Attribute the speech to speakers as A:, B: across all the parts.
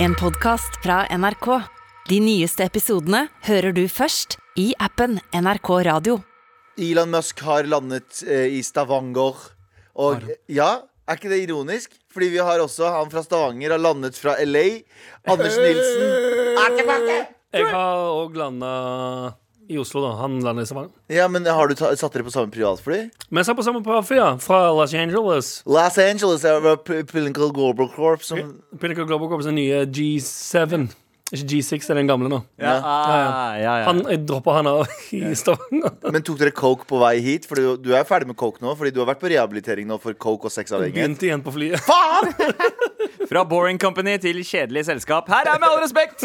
A: En podcast fra NRK. De nyeste episodene hører du først i appen NRK Radio.
B: Elon Musk har landet eh, i Stavanger. Og ja, er ikke det ironisk? Fordi vi har også han fra Stavanger har landet fra LA. Anders Nilsen er tilbake!
C: Jeg har òg landa i Oslo, da. Han landa i Stavanger.
B: Ja, men har du ta, satt dere på samme privatfly?
C: Vi satt på samme parafé, ja. Fra Los Angeles.
B: Los Angeles er det P- Pinnacle Global Corp som
C: Pinnacle Global Corps' nye G7. Ikke G6, det er den gamle nå.
D: Ja, ah, ja, ja.
C: Han, jeg droppa han av i Stavanger.
B: Men tok dere coke på vei hit? For du, du er ferdig med coke nå? Fordi du har vært på rehabilitering nå for coke og sexavhengighet?
C: Begynte igjen på flyet.
B: Faen!
D: Fra Boring Company til kjedelig selskap. Her er med all respekt!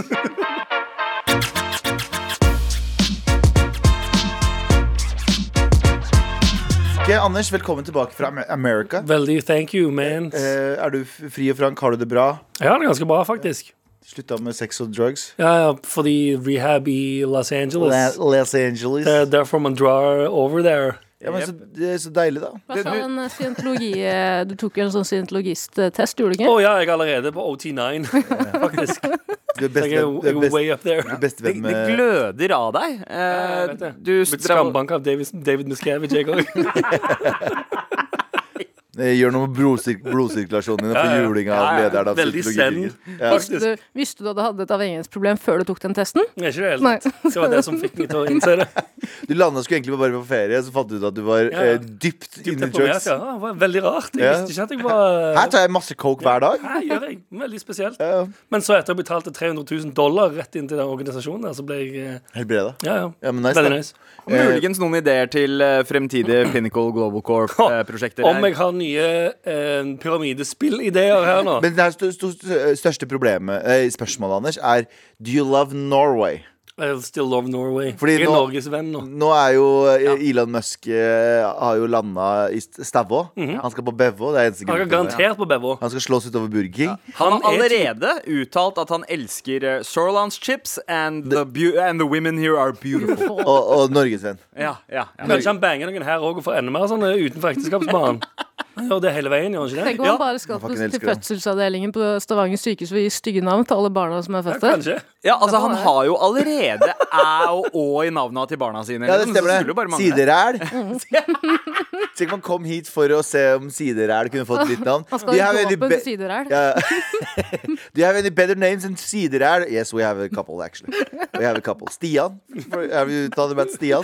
B: Ok, Anders, velkommen tilbake fra Amer- America.
C: Veldig thank you, man.
B: Eh, er du f- fri og frank? Har du det bra?
C: Jeg har det ganske bra, faktisk.
B: Slutta med sex og drugs?
C: Ja, ja, fordi rehab i Los Angeles
B: La- Los Angeles.
C: Det er derfor man drar over there.
B: Ja, men så, det er så deilig, da.
E: Hva sa en scientologi... eh, Du tok jo en sånn scientologist-test, gjorde du
C: Å
E: ikke?
C: ja, jeg er allerede på OT9, faktisk.
B: Du er
C: Jeg er,
B: bestevenn
C: jeg er way up there.
D: Det,
B: bestevenn
D: det
B: med
D: gløder av deg. Eh,
C: Jeg vet det.
D: du
C: Blitt
D: stra-
C: skambanka av David, David Miscavige, jeg òg.
B: Eh, Gjør noe med blodsirk blodsirkulasjonen din og
C: Ja,
B: få
C: ja.
B: juling av
C: Ja, ja.
B: lederen av
C: Veldig
B: psykologiklinikk.
C: send.
B: Ja.
C: Faktisk.
E: Visste du, visste du at du hadde et avhengighetsproblem før du tok den testen?
C: Nei, ikke det helt.
E: Nei.
C: Det var det som fikk meg til å innse det.
B: Du landa skulle egentlig bare på ferie, så fant du ut at du var
C: Ja, ja.
B: eh, dypt inne i drugs.
C: Deprimert, ja. Det var veldig rart. Jeg
B: Ja.
C: visste ikke at jeg var
B: Her tar jeg masse coke hver dag.
C: Hæ, gjør jeg? Veldig spesielt.
B: Ja.
C: Men så etter jeg betalte 300 000 dollar rett inn til den organisasjonen der, så ble jeg eh,
B: Helbreda.
C: Ja, ja.
B: Ja, men nice, da.
C: Veldig nice.
D: Muligens noen ideer til eh, fremtidige Pinnacle Global eh, Corp-prosjekter.
C: Om jeg har nye eh, pyramidespill-ideer her nå.
B: Men det her sto- sto- sto- største problemet, eh, spørsmålet, Anders, er Do you love Norway?
C: I still love Norway.
B: Fordi
C: jeg er
B: nå-
C: Norges venn nå.
B: Nå er jo eh, Elon Musk eh, har jo landa i St- Stavå. Han skal på Bevå. Det er eneste
C: Mhm.
B: grunn til det.
C: Han er garantert på Bevo.
B: Han skal slås utover Burger King.
D: Han har
C: Han er
D: allerede uttalt at han elsker eh, Sirlans chips, and the, beau- and the women here are beautiful.
B: Og, og Norgesvenn.
D: Ja, ja, ja.
C: Kanskje han banger noen her òg og får enda mer sånne utenfor ekteskapsbanen. Han gjør det hele veien, gjør han ikke det?
E: Tenk om
D: Ja.
E: han bare skal
B: fucking
E: til
B: elsker det.
E: fødselsavdelingen på Stavanger sykehus og gi stygge navn til alle barna som er født der.
C: Kanskje.
D: ja, altså Han har jo allerede æ og å i navna til barna sine.
B: Ja, det
D: liksom, så
B: stemmer
D: skulle jo bare
B: det.
D: mangle. Mm.
B: Sideræl. Tenk man kom hit for å se om sideræl kunne fått litt navn.
E: Han
B: Do
E: skal
B: you have
E: ha
B: any
E: våpen
B: be-
E: til sider her.
B: Ja. Do you have any better names than sideræl? Yes, we have a couple, actually. We have a couple. Stian. Have you thought about Stian?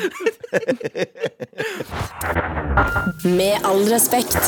A: Med all respekt.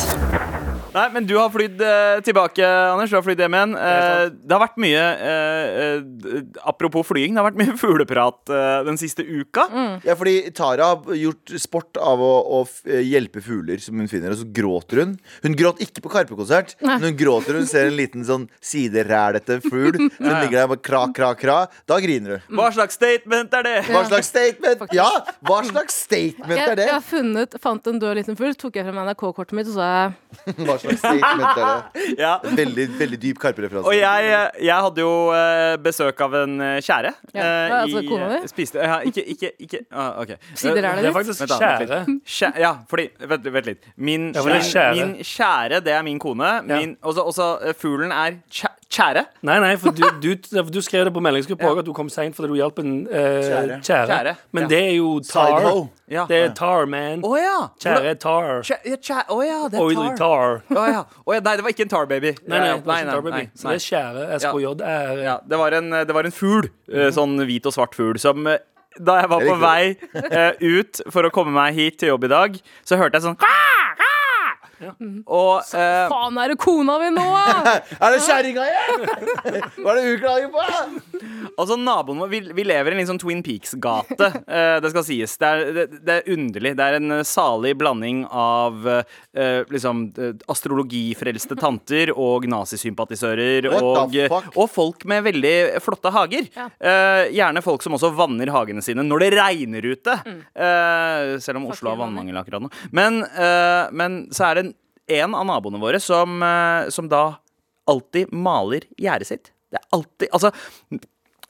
D: Nei, men du har flydd eh, tilbake, Anders. Du har flydd hjem igjen. Eh, det har vært mye eh, eh, d- Apropos flying, det har vært mye fugleprat eh, den siste uka.
E: Mm,
B: Ja, fordi Tara har gjort sport av å, å f- eh, hjelpe fugler som hun finner, og så gråter hun. Hun gråt ikke på Karpe-konsert, men hun gråter hun ser en liten sånn siderælete fugl som ligger der og bare kra, kra, kra. Da griner
E: mm.
B: hun.
D: Hva slags statement er det?
B: Hva slags statement? Ja, hva slags statement
E: Jeg,
B: er det?
E: jeg har funnet, fant en død liten fugl, tok jeg frem NRK-kortet mitt og sa jeg
B: Hva slags statement er det?
D: Ja.
B: Veldig, veldig dyp Karpe-referanse.
D: Og jeg, eh, jeg hadde jo eh, besøk av en eh, kjære.
E: Ja,
D: eh,
E: hva, altså
D: i-
E: kona di?
D: Spiste ja, Ikke, ikke, ikke ah, OK.
E: Sider er
C: Det er
E: det ditt?
C: faktisk
D: Vent da, vent litt.
C: kjære.
D: Kjæ ja, fordi Vent, vent litt. Min
C: Ja, for det
D: kjære,
C: er kjære.
D: min kjære, det er min kone.
C: Ja.
D: Min, også, også eh, fuglen er kjæ kjære.
C: Nei, nei, for du, du, for du skrev det på meldingsgruppa òg at du kom seint fordi du hjalp en eh,
B: Kjære.
C: kjære.
D: Kjære,
C: Men
D: ja.
C: det er jo tar.
B: Sidehoe.
D: Ja.
C: Det er tar, man.
D: Å ja!
C: Kjære tar.
D: Kjæ ja, kjæ Å ja, det er
C: Oily
D: tar.
C: tar.
D: Å ja. Å ja. Nei, det var ikke en tar baby.
C: Nei, nei,
D: Ja,
C: det er ikke tar, baby. Så det er kjære. SKJ er
D: Ja, det, var en, det var en fugl, eh,
C: Mhm.
D: sånn hvit og svart fugl, som eh, da jeg var på vei eh, ut for å komme meg hit til jobb i dag, så hørte jeg sånn «Kva, kva!» Og eh,
E: Faen, er det kona mi nå, da?!
B: Er det kjerringa igjen? Hva er det hun klager på?
D: altså naboen vår vi, vi lever i en litt sånn Twin Peaks-gate, eh, det skal sies. Det er, det, det er underlig. Det er en eh, salig blanding av eh, liksom eh, astrologifrelste tanter og nazisympatisører
B: What
D: og,
B: the fuck?
D: og folk med veldig flotte hager.
E: Ja.
D: Eh, gjerne folk som også vanner hagene sine når det regner ute. Eh, selv om Oslo har
E: Fakkelvanning.
D: vannmangel akkurat nå. Men, eh, men så er det en, en av naboene våre som, eh, som da alltid maler gjerdet sitt. Det er alltid Altså,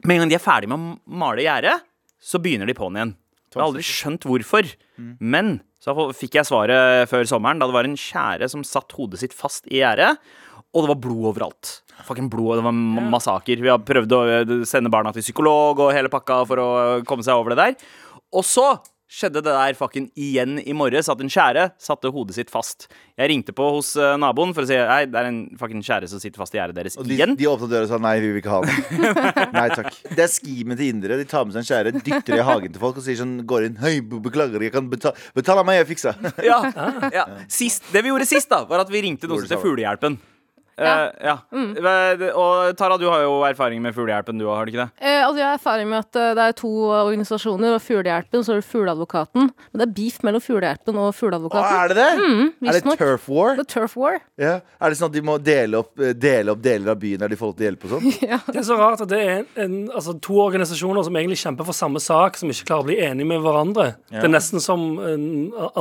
D: med en gang de er ferdig med å male gjerdet, så begynner de på'n igjen. Jeg har aldri skjønt hvorfor.
B: Mm.
D: Men så fikk jeg svaret før sommeren, da det var en kjære som satt hodet sitt fast i gjerdet. Og det var blod overalt. Fucking blod, Det var ma- massaker. Vi har prøvd å eh, sende barna til psykolog og hele pakka for å eh, komme seg over det der. Og så skjedde det der fucking igjen i morges at en skjære satte hodet sitt fast. Jeg ringte på hos eh, naboen for å si Nei, det er en fucking skjære som sitter fast i gjerdet deres
B: Og de,
D: igjen.
B: de åpna døra og sa nei, vi vil ikke ha den. nei takk. Det er skimen til indere. De tar med seg en skjære, dytter det i hagen til folk og sier sånn, går inn Hei, be- beklager, jeg kan betale Betal av meg, jeg fiksa.
D: Ja, ja. Sist, det vi gjorde sist, da var at vi ringte noen
B: Gjorde
D: som heter
B: det
D: Fuglehjelpen.
E: Ja. Mm.
D: Eh, ja. Eh, Og Tara, du har jo erfaring med Fuglehjelpen, du òg, har du ikke det?
E: Eh, altså jeg har erfaring med at eh, det er to eh, organisasjoner, og Fuglehjelpen så er det Fugleadvokaten. Men det er beef mellom Fuglehjelpen og
B: Å,
E: Fugleadvokaten.
B: er det det? er det
E: visstnok.
B: turf war?
E: Det er turf war.
B: Ja. Er det sånn at de må dele opp, eh, dele opp deler av byen der de får lov til hjelp og sånn?
C: Det er så rart at det er en, en, altså, to organisasjoner som egentlig kjemper for samme sak, som ikke klarer å bli enige med hverandre. Det er nesten som eh,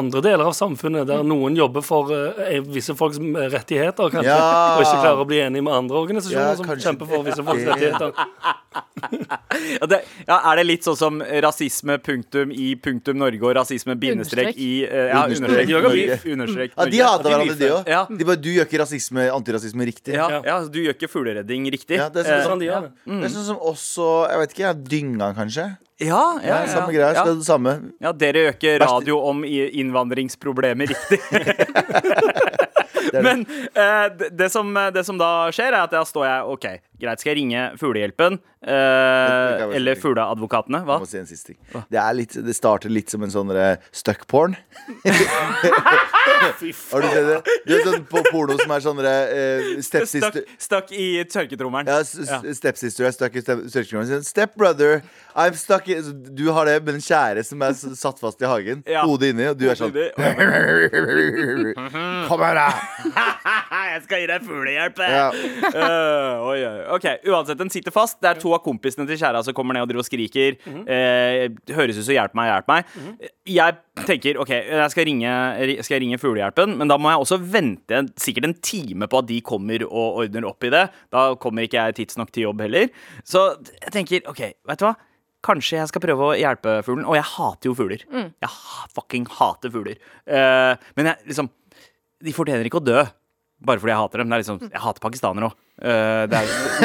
C: andre deler av samfunnet, der noen jobber for eh, visse folks eh, rettigheter, kanskje,
B: Ja.
C: og ikke klarer å bli enige med andre
B: Ja,
C: organisasjoner som
B: kanskje
C: kjemper for visse folks
B: det.
C: rettigheter.
D: Ja, det, ja, er det litt sånn som rasisme punktum i punktum Norge og rasisme bindestrek
E: Understrek.
D: i eh, Ja,
B: Understrek
D: understrek Norge.
B: Norge.
D: Understrek
B: Ja, de
D: Norge.
B: hater hverandre, de òg.
D: Ja.
B: De bare Du gjør ikke rasisme, antirasisme riktig.
D: Ja, ja, du gjør ikke fugleredding riktig.
B: Ja, det er
D: Eh,
B: sånn-
C: Sånn de gjør det.
B: Det er sånn som også Jeg vet ikke, ja, dynga, kanskje?
D: Eh, ja, ja,
B: Ja,
D: ja,
B: samme greia.
D: ja.
B: Skal det samme.
D: ja, dere gjør ikke radio om i- innvandringsproblemer riktig. Men eh, det, det, som, det som da skjer, er at da står jeg OK, greit, skal jeg ringe Fuglehjelpen? Eh,
B: være
D: eller
B: så
D: Fugleadvokatene? Hva?
B: Jeg må si en siste ting. Det, er litt, det starter litt som en sånn eh, stuck porn. Har du sett det? Du vet sånn på porno som er sånn eh,
D: Stakk,
B: stepsister
D: stakk i tørketrommelen.
B: ja, s- s- stepsister er stuck i step- stepsister. Sier, Stepbrother, I'm stuck i så Du har det med en kjære som er s- satt fast i hagen.
D: Ja.
B: Hodet inni, og du er sånn Kom her, da!
D: Jeg skal gi deg fuglehjelp!
B: Ja.
D: Eh, oi, oi. Ok, Uansett, den sitter fast. Det er to av kompisene til kjæra som kommer ned og driver og skriker. Eh, høres ut som 'hjelp meg, hjelp meg'. Jeg tenker ok, jeg skal ringe, ri- skal jeg ringe Fuglehjelpen, men da må jeg også vente en- sikkert en time på at de kommer og ordner opp i det. Da kommer ikke jeg tidsnok til jobb heller. Så jeg tenker ok, vet du hva? Kanskje jeg skal prøve å hjelpe fuglen. Og jeg hater jo fugler. Jeg ha- fucking hater fugler. Eh, men jeg liksom de fortjener ikke å dø. Bare fordi jeg hater dem. Det er liksom, jeg hater pakistanere òg. det er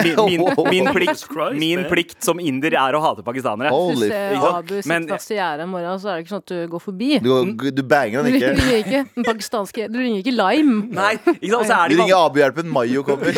D: min, min,
B: Oh,
D: min, plikt,
C: Christ,
D: min
C: man.
D: plikt som inder er å hate pakistanere.
E: Hvis
B: Holy
E: eh,
D: Ikke sant?
E: Abu
D: Men-
E: sitter fast i gjerdet i morgen, så er det ikke sånn at du går forbi.
B: Du, du banger han
E: Du ringer, du
B: ikke.
E: ringer ikke den pakistanske Du ringer ikke Lime.
D: Nei, ikke sant? Og så
B: Du
D: er de,
B: ringer Abu-hjelpen. Mayo kommer.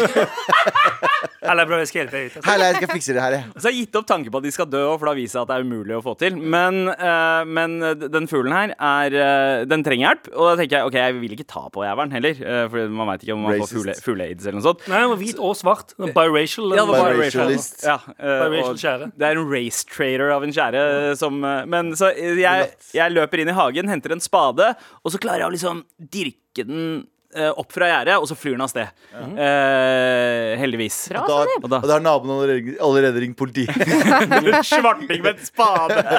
C: Eller bro, jeg skal hjelpe deg ut. altså.
B: Hei, jeg skal fikse det her, jeg.
D: Så jeg har gitt opp tanken på at de skal dø, for det har vist seg at det er umulig å få til. Men, eh, men den fuglen her, er, eh, den trenger hjelp. Og da tenker jeg ok, jeg vil ikke ta på jævelen heller. eh, for man veit ikke om man får
B: Racist.
D: fugle- fugle-aids eller noe sånt.
C: Nei, han var hvit og svart. Biracial.
D: Ja, det var
B: Biracial.
D: biracialist. Ja, eh,
C: Biracial
D: og
C: skjære.
D: Det er en race trader av en skjære eh, som eh, Men så eh, jeg, jeg løper inn i hagen, henter en spade, og så klarer jeg å liksom dirke den eh, opp fra gjerdet, og så flyr den av sted. Eh, heldigvis.
E: Bra,
B: Da,
E: Sandeep.
B: og da har naboen allerede, allerede ringt politiet.
D: Svarting med en spade!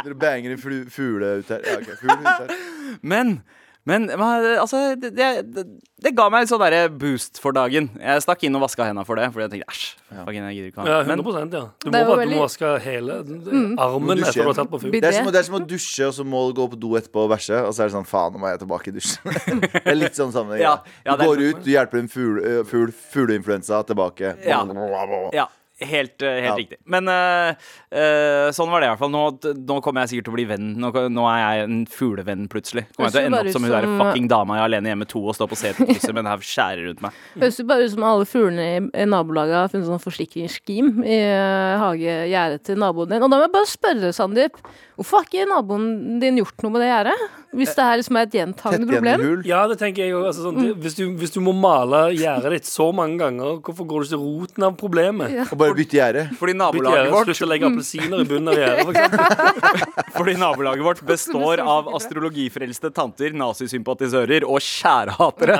B: Dere banger en flu- fugle ut her. Ja, ok, fugle ut her.
D: Men men hva- altså, det, det, det ga meg en sånn derre boost for dagen. Jeg stakk inn og vaska henda for det. Fordi jeg tenkte æsj, fucking, jeg gidder ikke
C: Ja,
D: ha den.
C: 100 ja. Du må,
E: Det er
C: bare,
E: jo
C: du
E: veldig- Mm.
C: må vaske hele armen
B: Du må dusje.
C: etter du har tatt på fugl.
E: Bidé.
B: Det er, som, å- det er som å dusje, og så må du gå på do etterpå og bæsje. Og så er det sånn, faen, nå må jeg tilbake i dusjen. det er litt sånn sammenheng.
D: Ja,
B: Ja.
D: ja,
B: du
D: det er- sånn.
B: går ut, du hjelper en fugl, eh, fugl, fugleinfluensa tilbake.
D: Ja.
B: Ja.
D: Ja, helt, eh, helt
B: Ja.
D: riktig. Men eh, eh, sånn var det i hvert fall. Nå, nå kommer jeg sikkert til å bli venn. Nå, nå er jeg en fuglevenn plutselig. Kommer jeg til å
E: Det ser
D: ende
E: bare
D: opp som
E: ut
D: hun der
E: som-
D: fucking dama jeg er alene hjemme to og står på seterkrysset med en haug skjærer rundt meg.
E: Høres jo bare ut som alle fuglene i i nabolaget har funnet sånn forsikringsscheme i eh, hagegjerdet til naboen din. Og da må jeg bare spørre, Sandeep, hvorfor har ikke naboen din gjort noe med det gjerdet? Hvis det her liksom er et gjentagende
B: Tett igjen i
E: problem?
B: hull.
C: Ja, det tenker jeg jo, altså, sånn,
E: Mm.
C: det- hvis, du, hvis du må male gjerdet ditt så mange ganger, hvorfor går du ikke til roten av problemet?
E: Ja.
B: Og bare bytte gjerde.
D: Fordi
C: Bytt gjerde,
D: nabolaget,
C: Slutt å
D: vårt,
C: legge appelsiner i bunnen av gjerdet, for eksempel.
D: fordi nabolaget vårt består av astrologifrelste tanter, nazisympatisører og skjærehatere.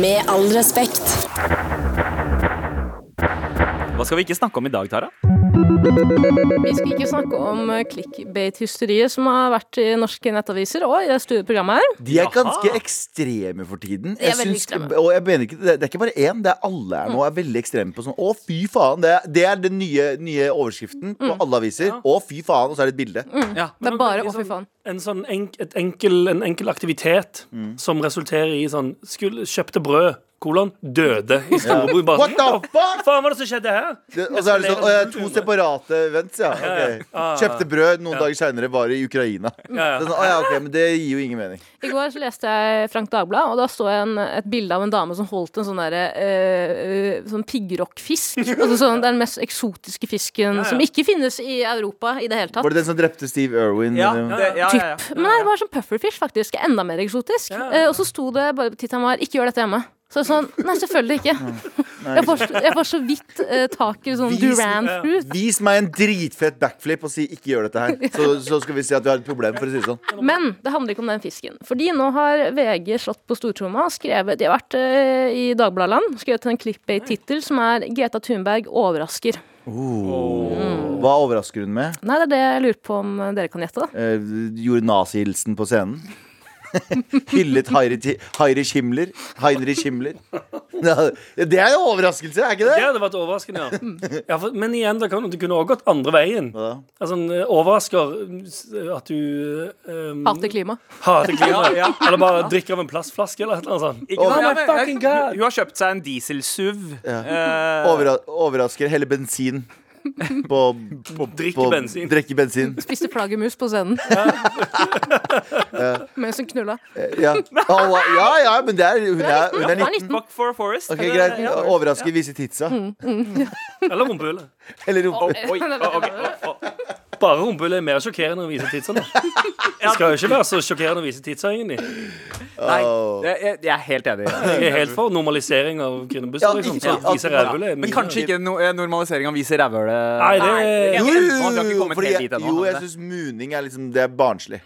A: Med all respekt.
D: Hva skal vi ikke snakke om i dag, Tara?
E: Vi skal ikke snakke om eh, clickbait-hysteriet som har vært i norske nettaviser og i det store programmet her.
B: De er
D: Jaha.
B: ganske ekstreme for tiden.
E: De er
B: Jeg
E: veldig
B: syns-
E: ekstreme. Mm.
B: og jeg mener ikke, det det er ikke bare én, det er alle her nå er veldig ekstreme på sånn Å, fy faen! Det, er- det er den nye, nye overskriften på
E: Mm.
B: alle aviser. Å, fy faen! Og så er det et bilde.
D: Ja.
E: Det
C: Men
E: er bare
C: veldig
E: å, fy faen.
C: En sånn enk, et enkel, en enkel aktivitet
D: Mm.
C: som resulterer i sånn skulle, Kjøpte brød, kolon, døde i store bord. Bare
B: What
C: sånn,
B: the fuck?!
C: faen var det som skjedde her?
B: Det, og så er det sånn, å, jeg er to separate events, ja. ok. Kjøpte brød, noen dager seinere var det i Ukraina.
C: Ja,
B: Det er
C: ja.
B: sånn, å, ja, ok, men det gir jo ingen mening.
E: I går så leste jeg Frank Dagblad, og da så jeg en, et bilde av en dame som holdt en sånn derre eh, eh, sånn piggrockfisk. Altså sånn, det er den mest eksotiske fisken som ikke finnes i Europa i det hele tatt.
B: Var det den som drepte Steve Irwin?
D: Ja,
B: eller noe?
D: det, ja, ja, ja.
E: Men nei, det var sånn pufferfish, faktisk. Enda mer eksotisk.
C: Ja.
E: Eh, og så sto det bare på tittelen var 'Ikke gjør dette hjemme'. Så jeg sånn Nei, selvfølgelig ikke. Jeg får, så- jeg får så vidt eh, tak i sånn
B: Vis-
E: Duran-fruit.
B: Vis meg en dritfett backflip og si 'ikke gjør dette her'. Så, så skal vi se at vi har et problem, for å si det sånn.
E: Men det handler ikke om den fisken. Fordi nå har VG slått på stortromma og skrevet De har vært eh, i Dagbladland skrevet en clickbait-tittel som er 'Greta Thunberg overrasker'.
B: Hva overrasker hun med?
E: Nei, det er det jeg lurer på om dere kan gjette, da.
B: Eh, gjorde nazihilsen på scenen. Hyllet Heinrich Heinrich Himmler. Heinrich Himmler. Ja, Det er jo overraskelse, er ikke
C: Det
B: det?
C: hadde vært overraskende, ja. ja for, men igjen, det, kan, det kunne også gått andre veien.
B: Hva da?
C: Altså, en eh, overrasker eh, at du um,
E: Hater klima.
C: hater klimaet.
D: Ja, ja.
C: Eller bare drikker av en plastflaske, eller et eller annet sånt.
D: Ikke sant?
B: Oh
C: my
D: Ja, men-
C: fucking God.
D: Hun har kjøpt seg en diesel-SUV. Eh,
B: Overra overrasker. Helle bensin på, på,
C: Drikke
B: på-
C: bensin.
B: Drikke bensin.
E: Spiste flaggermus på scenen. Mens hun knulla.
B: Eh, Ja. Å, ja, ja, men det er, hun, er, hun er 19.
D: Buck for Forest.
B: Ok, Greit. Overrasker, vise titsa.
C: Eller rumpehullet.
B: Eller rumpa.
D: Oi, oi, ok, å, å.
C: Bare rumpehullet er mer sjokkerende enn å vise titsene. Det skal jo ikke være så sjokkerende å vise titsa, egentlig.
D: Nei,
B: Åh.
D: jeg, jeg- jeg er helt enig.
C: Jeg er helt for normalisering av
B: Ja,
C: kvinnebusser. liksom,
B: ikke-
C: så at vise
B: ja,
C: rævhullet er
D: Men
C: mindre.
D: kanskje ikke no eh, normalisering av vise rævhølet.
C: Nei, det-
D: er
B: Jo,
D: ikke ennå. Han har ikke kommet
B: fordi
D: helt
B: jeg-
D: dit ennå.
B: jo, jeg
D: han.
B: syns muning er liksom Det er barnslig.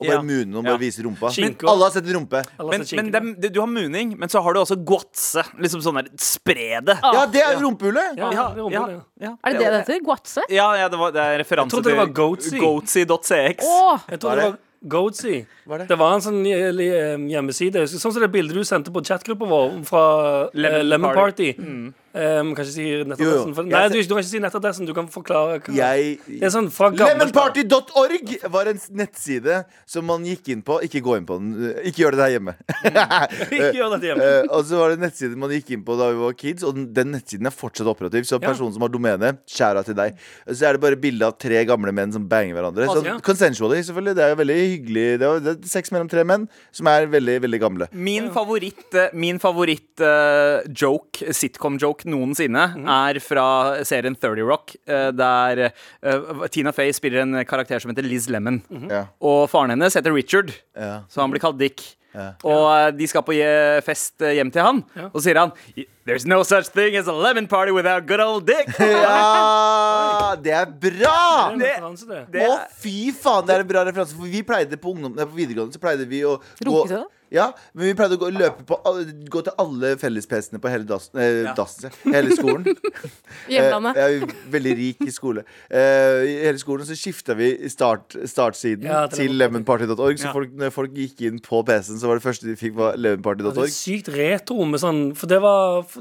B: Å
D: Ja.
B: bare mune og bare
D: Ja.
B: vise rumpa.
C: Skinke.
B: Alle har sett en rumpe.
C: Eller
D: men
C: så
D: men
C: kinker det.
D: dem- det, du har muning, men så har du også guatse. Liksom sånn der spre det.
B: Ja, det er rumpehullet!
C: Ja,
D: Ja,
C: det er
D: ja,
C: rumpehullet, ja.
D: ja.
E: Er det det det heter? Guatse?
D: Ja, ja, det, var, det er referanse
C: trodde det var Goatsy.
D: Goatsy.cx.
E: Åh,
C: Jeg tror det var Goatsy.
B: Hva er det?
C: Det var en sånn eh, li- eh, hjemmeside. Sånn som det bildet du sendte på chatgruppa vår fra Lemon,
D: Lemon
C: Lemon Party.
D: Party.
C: Um, kan ikke si
B: Mm. Jo, jo.
C: nettadressen. For, nei,
B: Jeg-
C: du, du kan ikke si nettadressen. Du kan forklare. hva- det er
B: Jeg
C: sånn fra gammelt av.
B: Lemonparty.org var en nettside som man gikk inn på. Ikke gå inn på den. Ikke gjør det der hjemme.
C: Mm. Ikke gjør dette
B: Eh,
C: hjemme.
B: og så var det en nettside man gikk inn på da vi var kids, og den, den nettsiden er fortsatt operativ. Så
C: Ja.
B: personen som har domene, skjæra til deg. Så er det bare bilde av tre gamle menn som banger hverandre.
C: Altså,
B: Sånn
C: ja.
B: consensually, selvfølgelig. Det er jo veldig hyggelig. Det er, jo- det er sex mellom tre menn som er veldig, veldig gamle.
D: Min favoritt, eh, min favoritt eh, joke, sitcom-joke noensinne,
C: Mm.
D: er fra serien 30 Rock, eh, der eh, Tina Fey spiller en karakter som heter Liz Lemon.
C: Mhm. Mm.
B: Ja.
D: Og faren hennes heter Richard,
B: Ja.
D: så han blir kalt Dick.
B: Ja.
D: Og eh, de skal på je- fest eh, hjem til han, og så sier han There's no such thing as a lemon party without good old dick.
B: ja! Det er bra!
C: Det er en referanse, det.
D: Det
B: Å,
D: er-
B: fy faen, det er en bra referanse. For vi pleide på, ungdom, nei, på videregående så pleide vi å
E: Runke til det?
B: Ja, men vi pleide å gå, løpe på, alle- gå til alle felles-PC-ene på hele, dassen- eh, dassen, sier jeg. hele skolen.
E: hjemlandet.
B: Eh, Jeg er jo veldig rik i skole. Eh, I hele skolen så skifta vi start, startsiden
C: Ja, til
B: til lemonparty.org. Så
D: Ja.
B: folk, når folk gikk inn på PC-en, så var det første de fikk, var
C: Det er
B: lemonparty.org.
C: sykt retro med sånn For det var f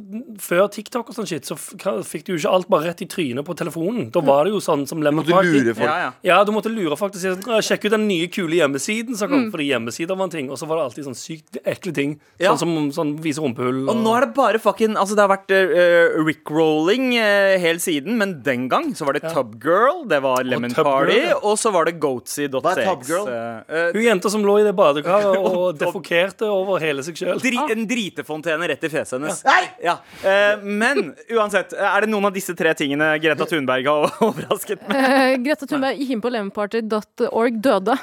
C: før TikTok og sånn shit, så f ka- fikk du jo ikke alt bare rett i trynet på telefonen.
B: Mm.
C: Da var det jo sånn som Lemon
B: Måtte lure
C: Party.
B: folk.
D: Ja, ja.
C: Ja, du måtte lure folk til å si sånn, «Å, Sjekk ut den nye kule hjemmesiden som
D: Mm.
C: kom, fordi hjemmesider var en ting. Og så var det alltid sånn sykt ekle ting.
D: Ja.
C: Sånn som sånn, vise rumpehull.
D: Og nå er det bare fucking Altså, det har vært uh, Rick-rolling eh, helt siden, men den gang så var det Tubgirl, det var Lemon
C: Tub Girl,
D: Party,
C: ja.
D: og så var det Goatsy.cx.
B: Hva er Tub Girl?
D: Eh, eh,
C: Hun jenta som lå i det badekaret og defokerte over hele seg sjøl.
D: dri, en dritefontene rett i fjeset hennes.
B: Nei!
D: Ja. eh, men uansett, eh, er det noen av disse tre tingene Greta Thunberg har overrasket med?
E: Eh, Greta Thunberg gikk inn på lemonparty.org, døde.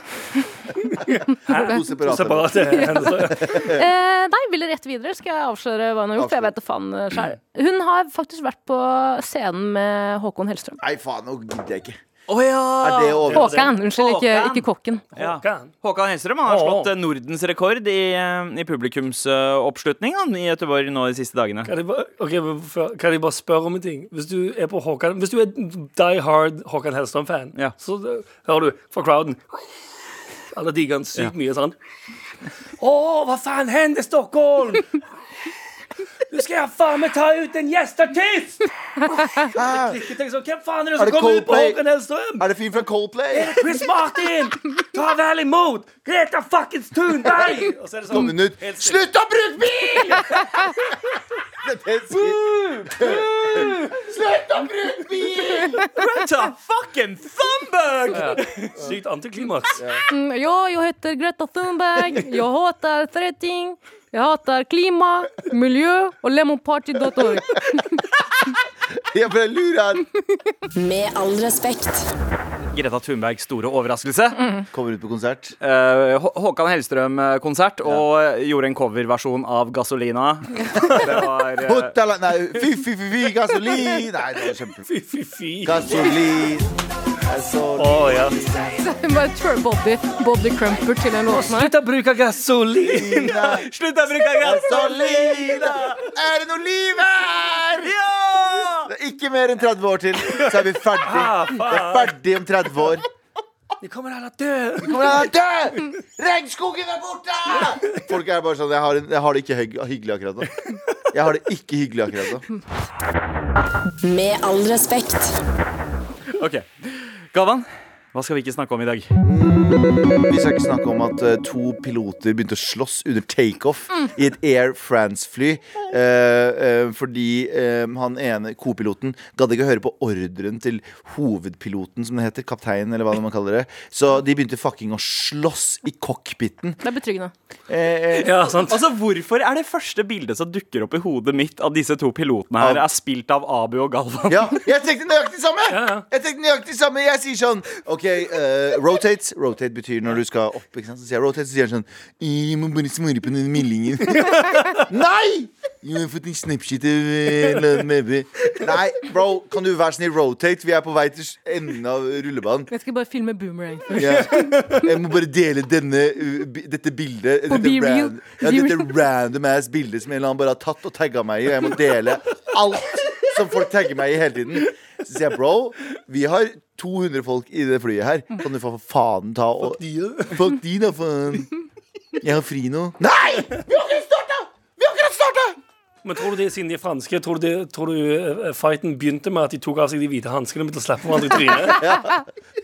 B: To separate.
C: Separate hendelser.
E: Eh, nei, ville rett videre. Skal jeg avsløre hva hun har gjort?
B: Avslør.
E: For jeg vet det faen eh, Mm. sjøl. Hun har faktisk vært på scenen med Håkon Hellstrøm.
B: Nei, faen, nå gidder jeg ikke.
D: Å ja!
B: Er det over?
E: Håkan. Unnskyld, ikke,
D: Håkan.
E: ikke kokken.
D: Ja.
C: Håkan.
D: Håkan Hellstrøm han har
C: Å.
D: slått eh, Nordens rekord i, eh, i publikumsoppslutning i Gøteborg nå de siste dagene.
C: Kan jeg, bare, ok, men før- kan jeg bare spørre om en ting? Hvis du er på Håkan Hvis du er die hard Håkan Hellstrøm-fan,
D: Ja.
C: så eh, hører du fra crowden Alle digger han sykt mye sånn. Å, hva faen hender Stockholm? Du skal jeg faen meg ta ut en gjesteartist!
B: Er
C: Jeg tenker sånn, Hvem faen er det
B: Er
C: som
B: det
C: kommer ut på
B: Coldplay?
C: Håkan Hellstrøm?
B: det fyren fra Coldplay?
C: Chris Martin! Ta vel imot! Greta fuckings Thunberg! Og så er det
B: To
C: sånn
B: minutter.
C: helt stille.
B: Slutt å bruke bil! Det er det jeg sier. Slutt å bruke bil!
D: Ta fucking Thunberg!
C: Sykt antiklimaks.
E: Mm, Ja, jag heter Greta Thunberg. Jag hatar threating. Jag hatar klima, miljö och lemonparty.org.
B: Jeg bare lurer her.
A: Med all respekt.
D: Greta Thunbergs store overraskelse.
B: Kommer ut på konsert.
D: Eh, Hå- Håkan Hellstrøm-konsert og eh, gjorde en coverversjon av Gasolina. Det var eh,
B: Hotell Nei, fy, fy, fy, fy, gasolin! Nei, det var kjempefint.
C: Fy, fy, fy.
B: Gasolin.
C: Å,
B: Gasolin.
C: ja.
E: Bara tror Bobby, Bobby Crumper till en låtsnare.
C: Slutt å bruke gasolin!
D: Slutt å bruke
B: Gasolina! Er det noe liv her?
D: Ja!
B: Det er ikke mer enn 30 år til, så er vi ferdig. Vi er ferdig om 30 år.
C: Vi kommer alle dø!
B: Kommer jeg til å dø? Regnskogen er borte! Folk er bare sånn Jeg har, en- jeg har det ikke hygg- hyggelig akkurat nå. Jeg har det ikke hyggelig akkurat nå.
A: Med all respekt.
D: Ok. Galvan, hva skal vi ikke snakke om i dag?
B: Vi skal ikke snakke om at eh, to piloter begynte å slåss under takeoff i et Air France-fly. eh, eh, fordi eh, han ene, co-piloten, gadd ikke å høre på ordren til hovedpiloten, som det heter. Kapteinen, eller hva man kaller det. Så de begynte fucking å slåss i cockpiten.
E: Det är betryggande.
B: Eh, eh,
C: Ja, sant.
D: Altså, Hvorfor er det første bildet som dukker opp i hodet mitt av disse to pilotene her,
B: Av-
D: er spilt av Abu og Galvan?
B: Ja, jeg tenkte nøyaktig det samme!
C: liksom. ja.
B: Jeg tenkte nøyaktig det samme Jeg sier sånn OK, eh, rotate. Rotate betyr når du skal opp. Ikke sant? Så sier jeg rotate, så sier han sånn Jeg må bare smøre på den meldingen. Nei! Jo, jeg har fått en snapshit av eh, Love Maybe. Nei, bro, kan du være snill rotate? Vi er på vei til enden av rullebanen.
E: Jag ska bara filma Boomerang.
B: Ja. Jeg må bare dele denne, uh, bi- dette bildet.
E: På
B: Dette,
E: Be Real.
B: ran- ja,
E: Be
B: dette
E: Real.
B: random ass bildet som en eller annen bare har tatt og tagga meg i. Og jeg må dele alt som folk tagger meg i hele tiden. Så sier jeg bro, vi har 200 folk i det flyet her. Kan du for faen ta og Fuck de, da, faen. Jeg har fri nå. Nei! Vi har akkurat starta! Vi har akkurat starta!
C: Men tror du de, siden de er franske, tror du, de, tror du eh, fighten begynte med at de tok av seg de hvite hanskene og begynte å slappe hverandre i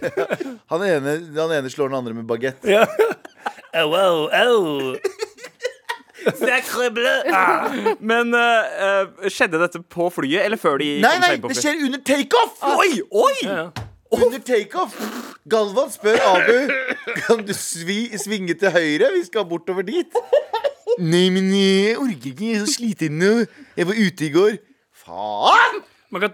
C: trynet?
B: Han ene, han ene slår den andre med bagett.
C: Ja. Au, au, au.
D: Men eh, eh, skjedde dette på flyet, eller før de
B: Nei,
D: kom
B: nei,
D: seg inn på
B: det
D: flyet?
B: skjer under takeoff!
D: Oi, oi!
C: Ah. Ja.
B: Under takeoff Galvan spør Abu Kan du svi, svinge til høyre Vi skal bortover dit Nei, men jeg orker ikke Jeg er så sliten nå Jeg var ute i går Faen
C: Men, hva,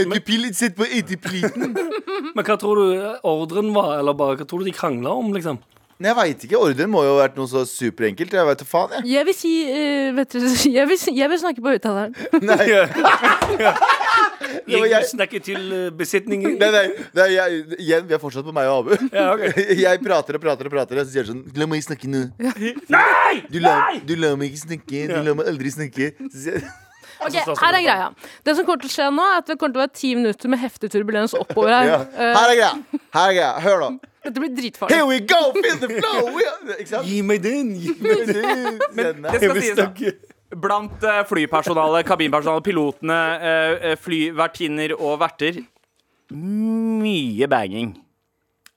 B: Autopilot sett på autopiloten
C: men hva tror du eh, ordren var, eller bare hva tror du de krangla om, liksom?
B: Nei, jeg vet ikke Ordren må jo ha vært noe så superenkelt Jeg vet da faen jeg
E: Jag vill si, eh, vet du, jag vill, si- jag vill snacka på uttalaren.
B: Nei, var
C: Gikk
B: jeg-
C: du snakke til eh, besetningen?
B: nei, nei, nei jeg, igjen, Vi er fortsatt på meg og Abu
C: Ja, ok.
B: Jeg prater og prater og prater Og så sier jeg sånn La meg snakke nå
C: Nei!
B: Du la, du la meg ikke snakke Du la meg aldri snakke Så sier jeg Altså,
E: Okej, här är grejen. Det som kommer att ske nu är att det kommer att vara 10 minuter med häftig turbulens oppover här.
B: ja. Her er greia Her er greia Hør da
E: Eh, det blir dritfarligt.
B: Here we go, feel the flow! We are, ikke sant?
C: Gi meg den! Gi meg
B: Men,
D: Det skal sies, da. Blant eh, flypersonalet, kabinpersonalet, pilotene, eh, eh, flyvertinner og verter Mye banging.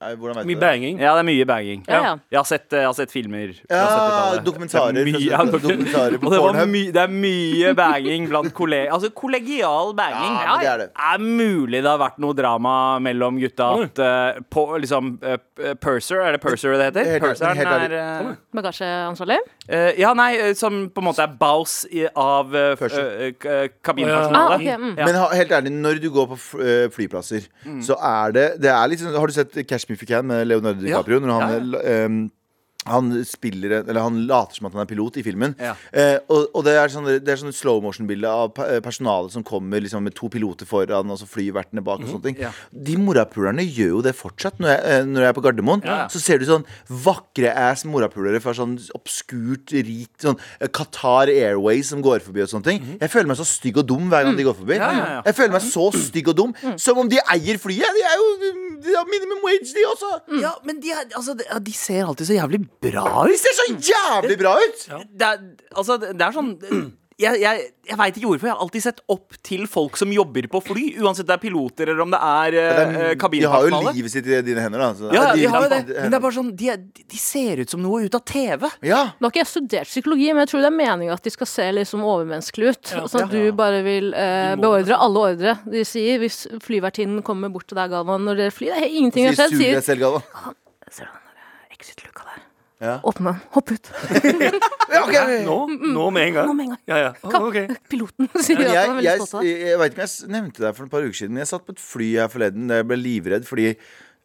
B: Nei, hvordan vet du
C: Mye
B: det?
C: banging.
D: Ja, det er mye banging.
E: Ja, ja.
D: Jeg, har sett, eh, jeg har sett filmer. fra
B: Ja,
D: 70-tallet.
B: dokumentarer.
D: Det er mye, ja, dok-
B: dokumentarer på
D: Og det, var
B: Pornhub.
D: my, det er mye banging blant kolleger. Altså kollegial banging.
B: Ja, men det er det.
D: er mulig det har vært noe drama mellom gutta at eh, på, liksom, eh, eh, Purser, er det Purser det heter?
B: Helt ærlig,
D: Purseren
B: helt ærlig.
D: er eh,
E: Bagasjeansvarlig.
D: eh, Ja, nei, eh, som på en måte er baus i, av eh, f-
B: Purser.
D: eh, eh,
E: Ah,
D: kabinpersonalet.
E: ok, mm.
D: Ja.
B: Men ha- helt ærlig, når du går på f- eh, flyplasser,
D: Mm.
B: så er det, det er litt sånn- Har du sett Cash Me If You Can med Leonardo DiCaprio? Når han eh, la- em, han spiller en- Eller han later som at han er pilot i filmen.
D: Ja.
B: Eh, og, og det er sånn, det er sånn slow motion-bilde av pe- eh, personalet som kommer liksom, med to piloter foran, og så flyvertene bak. og sånne ting
D: Mm. ja.
B: De morapulerne gjør jo det fortsatt. Når jeg, eh, når jeg er på Gardermoen,
D: Ja, ja.
B: så ser du sånn vakre ass morapulere fra sånn obskurt, rikt sånn eh, Qatar Airways som går forbi og sånne ting.
D: Mhm.
B: Jeg føler meg så stygg og dum
D: Mm.
B: hver gang de går forbi.
D: Ja, ja, Mm. ja.
B: Jeg føler meg så stygg og dum, som om de eier flyet! De er jo de har minimum wage, de også!
E: Mm.
D: Ja, men de, er- altså, de, ja, de ser alltid så jævlig bra ut.
B: De ser så jævlig bra ut!
D: Det er, altså, det det er sånn Jeg, jeg, jeg veit ikke hvorfor. Jeg har alltid sett opp til folk som jobber på fly. Uansett om det er piloter eller om det er eh, eh,
B: de har jo
D: kabinpersonale.
B: livet sitt i dine hender, da. så-
D: Ja, ja,
B: de-
D: de har jo det.
B: de-
D: Men det er bare sånn, de, er- de ser ut som noe ut av TV.
B: Ja.
E: Nå har ikke jeg studert psykologi, men jeg tror det er meninga at de skal se liksom overmenneskelige ut.
C: Ja.
E: sånn at du bare vil eh,
C: De må-
E: beordre alle ordre de sier. Hvis flyvertinnen kommer bort til deg, Galvan, når dere flyr, det er ingenting har skjedd,
B: Sier
E: sier
B: deg selv, Galvan.
E: Ser du den der exit-luka der?
B: Ja.
E: Åpne den. Hopp ut.
B: Ja, ok.
C: Nå, nå med en
E: Mm, Nå
C: gang.
E: med en gang.
C: Ja, ja. Å,
E: Kom.
C: ok.
E: Piloten sier
B: Men
E: at
B: Jeg,
E: han er
B: jeg,
E: veldig stolt av deg.
B: jeg, jeg vet ikke om jeg s- nevnte deg for et par uker siden, men jeg satt på et fly her forleden da jeg ble livredd fordi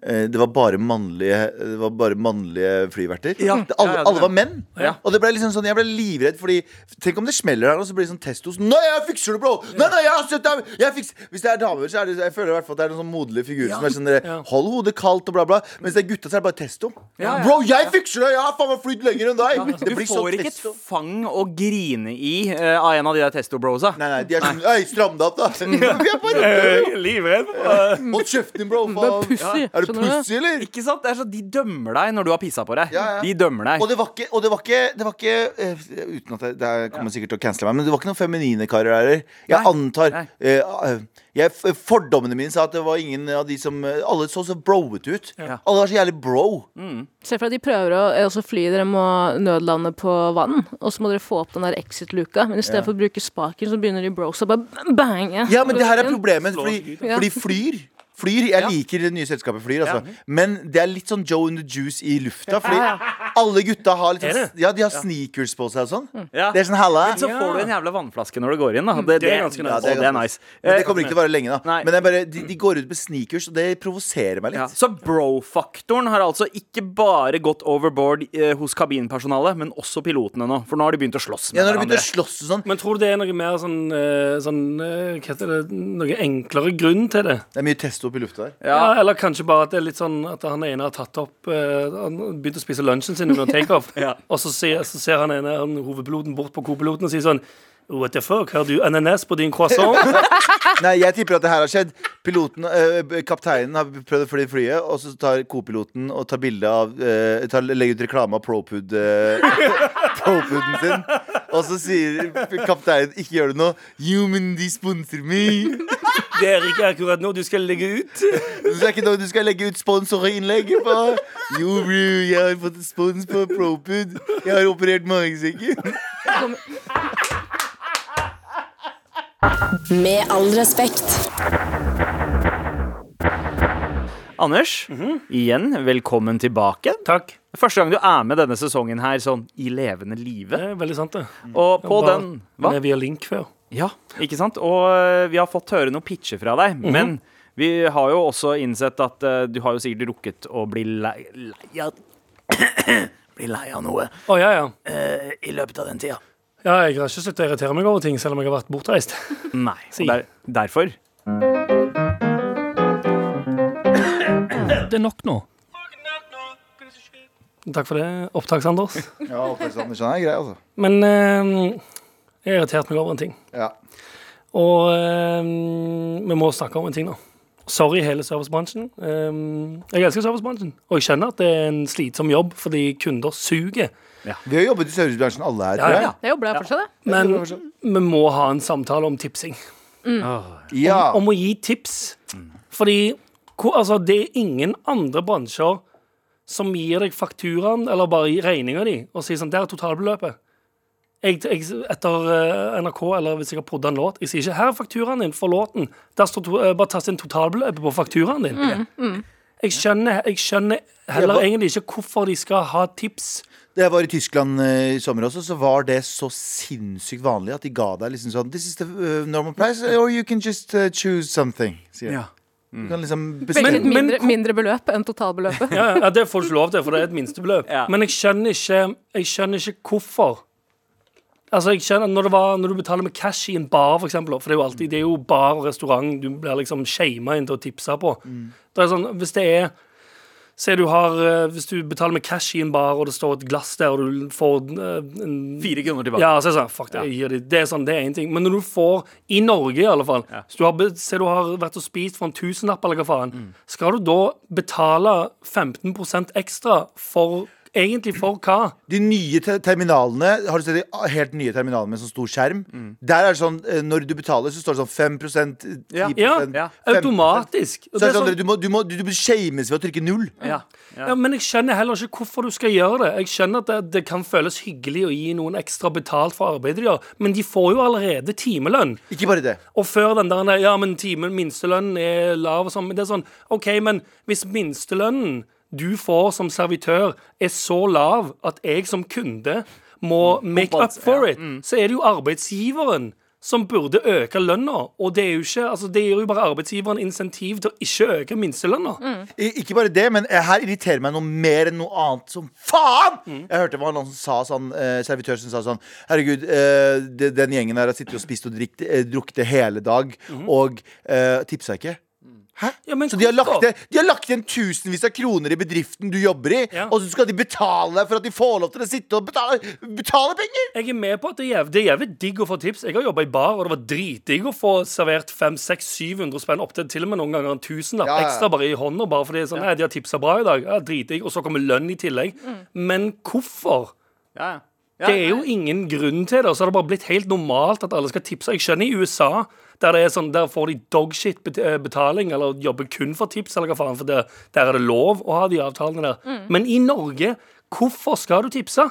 B: eh, det var bare mannlige, det var bare mannlige flyverter.
D: Ja.
B: Det, alle,
D: Ja, ja, det-
B: alle var menn.
D: Ja.
B: Og det ble liksom sånn, jeg ble livredd, fordi Tenk om det smeller her, og så blir det sånn testos. Nei, jeg fikser det, bro! Nei, nei, jeg har sett deg! Jeg fikser. Hvis det er damer, så er det, jeg føler i hvert fall at det er noen sånn moderlige figurer som er sånn dere,
C: Ja.
B: Hold hodet kaldt og bla, bla. Mens det er gutta, så er det bare testo.
D: Ja, ja.
B: Bro, jeg fikser det! Jeg har faen meg flydd lenger enn deg!
D: Du
B: Det blir så
D: får ikke et
B: testo.
D: fang å grine i eh, av en av de der testo-brosa.
B: Nei, nei, de er sånn Øy, stram deg opp, da! Vi er bare
C: Eh, Livredd. Eh,
B: Hold kjeften din, bro!
E: Du er
B: Faen.
E: pussy.
B: Er du
E: skjønner
B: pussy, eller?
D: Ikke sant? Det er sånn, De dømmer deg når du har pissa på deg.
B: Ja, ja.
D: De dømmer deg.
B: Og det var ikke, og det var ikke, det var ikke eh, Uten at jeg, det her kommer sikkert til å cancele meg, men det var ikke noen feminine karer her. Jeg
D: Nei,
B: antar
D: nei.
B: eh, eh, jeg, f- Fordommene mine sa at det var ingen av de som eh, Alle så så broet ut.
D: Ja.
B: Alle var så jævlig bro.
E: Se for deg at de prøver å eh, også fly, dere må nødlande på vann, og så må dere få opp den der exit-luka, men i stedet for å bruke spaken, så begynner de bros å bare bange.
B: Ja, men det her er problemet, fordi,
E: Ja.
B: fordi flyr Flyr, Jeg
D: Ja.
B: liker det nye selskapet Flyr, altså. Men det er litt sånn Joe and the Juice i lufta. Fordi alle gutta har litt
C: Er
B: sånn
C: det?
B: Ja, de har sneakers på seg og sånn.
D: Ja.
B: Det er sånn halla.
D: Så
C: Ja.
D: får du en jævla vannflaske når du går inn. Da. Det,
C: Det er ganske
B: Ja,
C: nice.
D: Ja, det, er
B: ganske
D: nice.
B: Men det
D: Eh,
B: kommer ikke til å vare lenge, da.
D: Nei.
B: Men det er bare, de, de går ut med sneakers, og det provoserer meg
D: ja.
B: litt.
D: Så bro-faktoren har altså ikke bare gått overboard eh, hos kabinpersonalet, men også pilotene nå. For nå har de begynt å slåss med
B: Ja, når de begynte
D: hverandre.
B: å slåss og sånn.
C: Men tror du det er noe mer sånn, eh, sånn eh, Hva heter det? Noe enklere grunn til det?
B: Det er mye testo opp i lufta her.
D: Ja.
C: Ja, Eller kanskje bare at det er litt sånn at han ene har tatt opp eh, Han begynte å spise lunsjen sin under takeoff,
D: Ja.
C: og så ser, så ser han ene han hovedpiloten bort på kopiloten og sier sånn What the fuck, har du ananas på din croissant?
B: Nei, jeg tipper at det her har skjedd. Piloten, øh, Kapteinen har prøvd å fly flyet, og så tar kopiloten og tar bilde av øh, tar, Legger ut reklame av Propud øh, Propuden sin. Og så sier kapteinen 'ikke gjør det nå'. Jo, men de sponser meg.
C: Det er ikke akkurat nå du skal legge ut.
B: Du skal, ikke, du skal legge ut sponsorinnlegg på Jo, bro, jeg har fått spons på Propud. Jeg har operert magesekken.
A: Med all respekt.
D: Anders,
B: Mhm.
D: igjen, velkommen tilbake.
C: Takk.
D: Første gang du er med denne sesongen her sånn i levende live.
C: Det er veldig sant, det.
D: Og på
C: Bare
D: den Hva?
C: Med via link før.
D: Ja, ikke sant? Og eh, vi har fått høre noen pitcher fra deg,
B: Mhm.
D: men vi har jo også innsett at eh, du har jo sikkert rukket å bli lei, lei av Bli lei av noe
C: Å, ja, ja.
D: eh, i løpet av den tida.
C: Ja, jeg har ikke sluttet å irritere meg over ting, selv om jeg har vært bortreist.
D: Nei.
C: Si.
D: Og der, derfor
C: Det er nok nå. Takk for det, Opptaks-Anders.
B: Ja, oppmerksomheten er grei, altså.
C: Men eh, jeg har irritert meg over en ting.
B: Ja.
C: Og eh, vi må snakke om en ting nå. Sorry, hele servicebransjen. Eh, jeg elsker servicebransjen, og jeg skjønner at det er en slitsom jobb fordi kunder suger.
B: Vi har jobbet i servicebransjen alle her, tror
C: Ja,
B: jeg.
C: ja.
E: Det jobber jeg fortsatt, det.
C: Men vi må ha en samtale om tipsing.
B: Ja.
C: Om å gi tips. Fordi ko- altså, det er ingen andre bransjer som gir deg fakturaen eller bare regninga di og sier sånn Der er totalbeløpet. Jeg, jeg, etter eh, NRK, eller hvis jeg har podda en låt Jeg sier ikke 'Her er fakturaen din for låten'. Der står to, eh, bare tas inn totalbeløpet på fakturaen din. Jeg, skjønner, jeg skjønner
B: Ja,
C: heller
B: hva-
C: egentlig ikke hvorfor de skal ha tips.
B: Da jeg var i Tyskland eh, i sommer også, så var det så sinnssykt vanlig eh, at de ga deg liksom sånn This is the uh, normal price, or you can just uh, choose eh, something. Sier. de. Du kan liksom
E: Veldig
B: bestemme
E: et mindre,
C: men-
E: mindre beløp enn totalbeløpet.
C: Ja, ja, det får du ikke lov til, for det er et minstebeløp.
D: Ja.
C: Men jeg skjønner ikke Jeg skjønner ikke hvorfor. Altså, jeg skjønner Når, det var, når du betaler med cash i en bar, for eksempel, for det er jo alltid Det er jo bar og restaurant du blir liksom shama inn til å tipse på. Det er sånn, hvis det er Se, du har, eh, Hvis du betaler med cash i en bar, og det står et glass der, og du får eh, en
D: Fire kroner tilbake.
C: ja, så er det sånn, fuck det, jeg gir de. det er sånn, det er en ting Men når du får, i Norge i alle fall Hvis du har, be- Se du har vært og spist for en tusenlapp eller hva faen Skal du da betale 15% ekstra for, egentlig for hva?
B: De nye te terminalene Har du sett de ah, helt nye terminalene med sånn stor skjerm? Der er det sånn, eh, når du betaler så står det sånn 5 10
D: Ja.
C: Ja,
B: 15%.
C: automatisk Og
B: Så er det
C: det er
B: sånn,
C: sånn,
B: du, må, du, må, du, du shames ved å trykke null
D: Ja.
C: ja, men jeg skjønner heller ikke hvorfor du skal gjøre det Jeg skjønner at det, det kan føles hyggelig Å gi noen ekstra betalt for arbeidet de gjør Men de får jo allerede timelønn
B: Ikke bare det
C: Og før den der Ja, men timen, minstelønnen er lav og sånn. Men det er sånn OK, men hvis minstelønnen du får som servitør, er så lav at jeg som kunde må make up
D: Kompens-
C: for
D: ja,
C: it, så er det jo arbeidsgiveren som burde øke lønna. Og det er jo ikke Altså, det gir jo bare arbeidsgiveren insentiv til å ikke øke minstelønna.
B: I, ikke bare det, men eh, her irriterer meg noe mer enn noe annet som faen!
C: Mm.
B: Jeg hørte hva noen som sa sånn, eh, servitør som sa sånn Herregud, eh, det, den gjengen her har sittet og spist og drikt, eh, drukket det hele dag,
C: Mm.
B: og eh, tipsa ikke. Hæ?
C: Ja, men
B: så de har, lagt,
C: hvorfor?
B: det- de har lagt igjen tusenvis av kroner i bedriften du jobber i,
C: Ja.
B: og så skal de betale deg for at de får lov til å sitte og betale, betale penger!
C: Jeg er med på at det er jævlig, det er jævlig digg å få tips. Jeg har jobba i bar, og det var dritdigg å få servert 500-700 spenn. Opptil til og med noen ganger en tusenlapp
B: Ja, ja, ja.
C: ekstra bare i hånda. Bare fordi det er sånn, nei, de har tipsa bra i dag. Ja, Dritdigg. Og så kommer lønn i tillegg. Men hvorfor?
D: Ja, ja. Ja,
C: Det er jo ingen grunn til det. Og så har det bare blitt helt normalt at alle skal tipse. Jeg skjønner i USA, der, det er sånn, der får de dogshit-betaling, eller jobber kun for tips, eller hva faen, for det, der er det lov å ha de avtalene der. Men i Norge, hvorfor skal du tipse?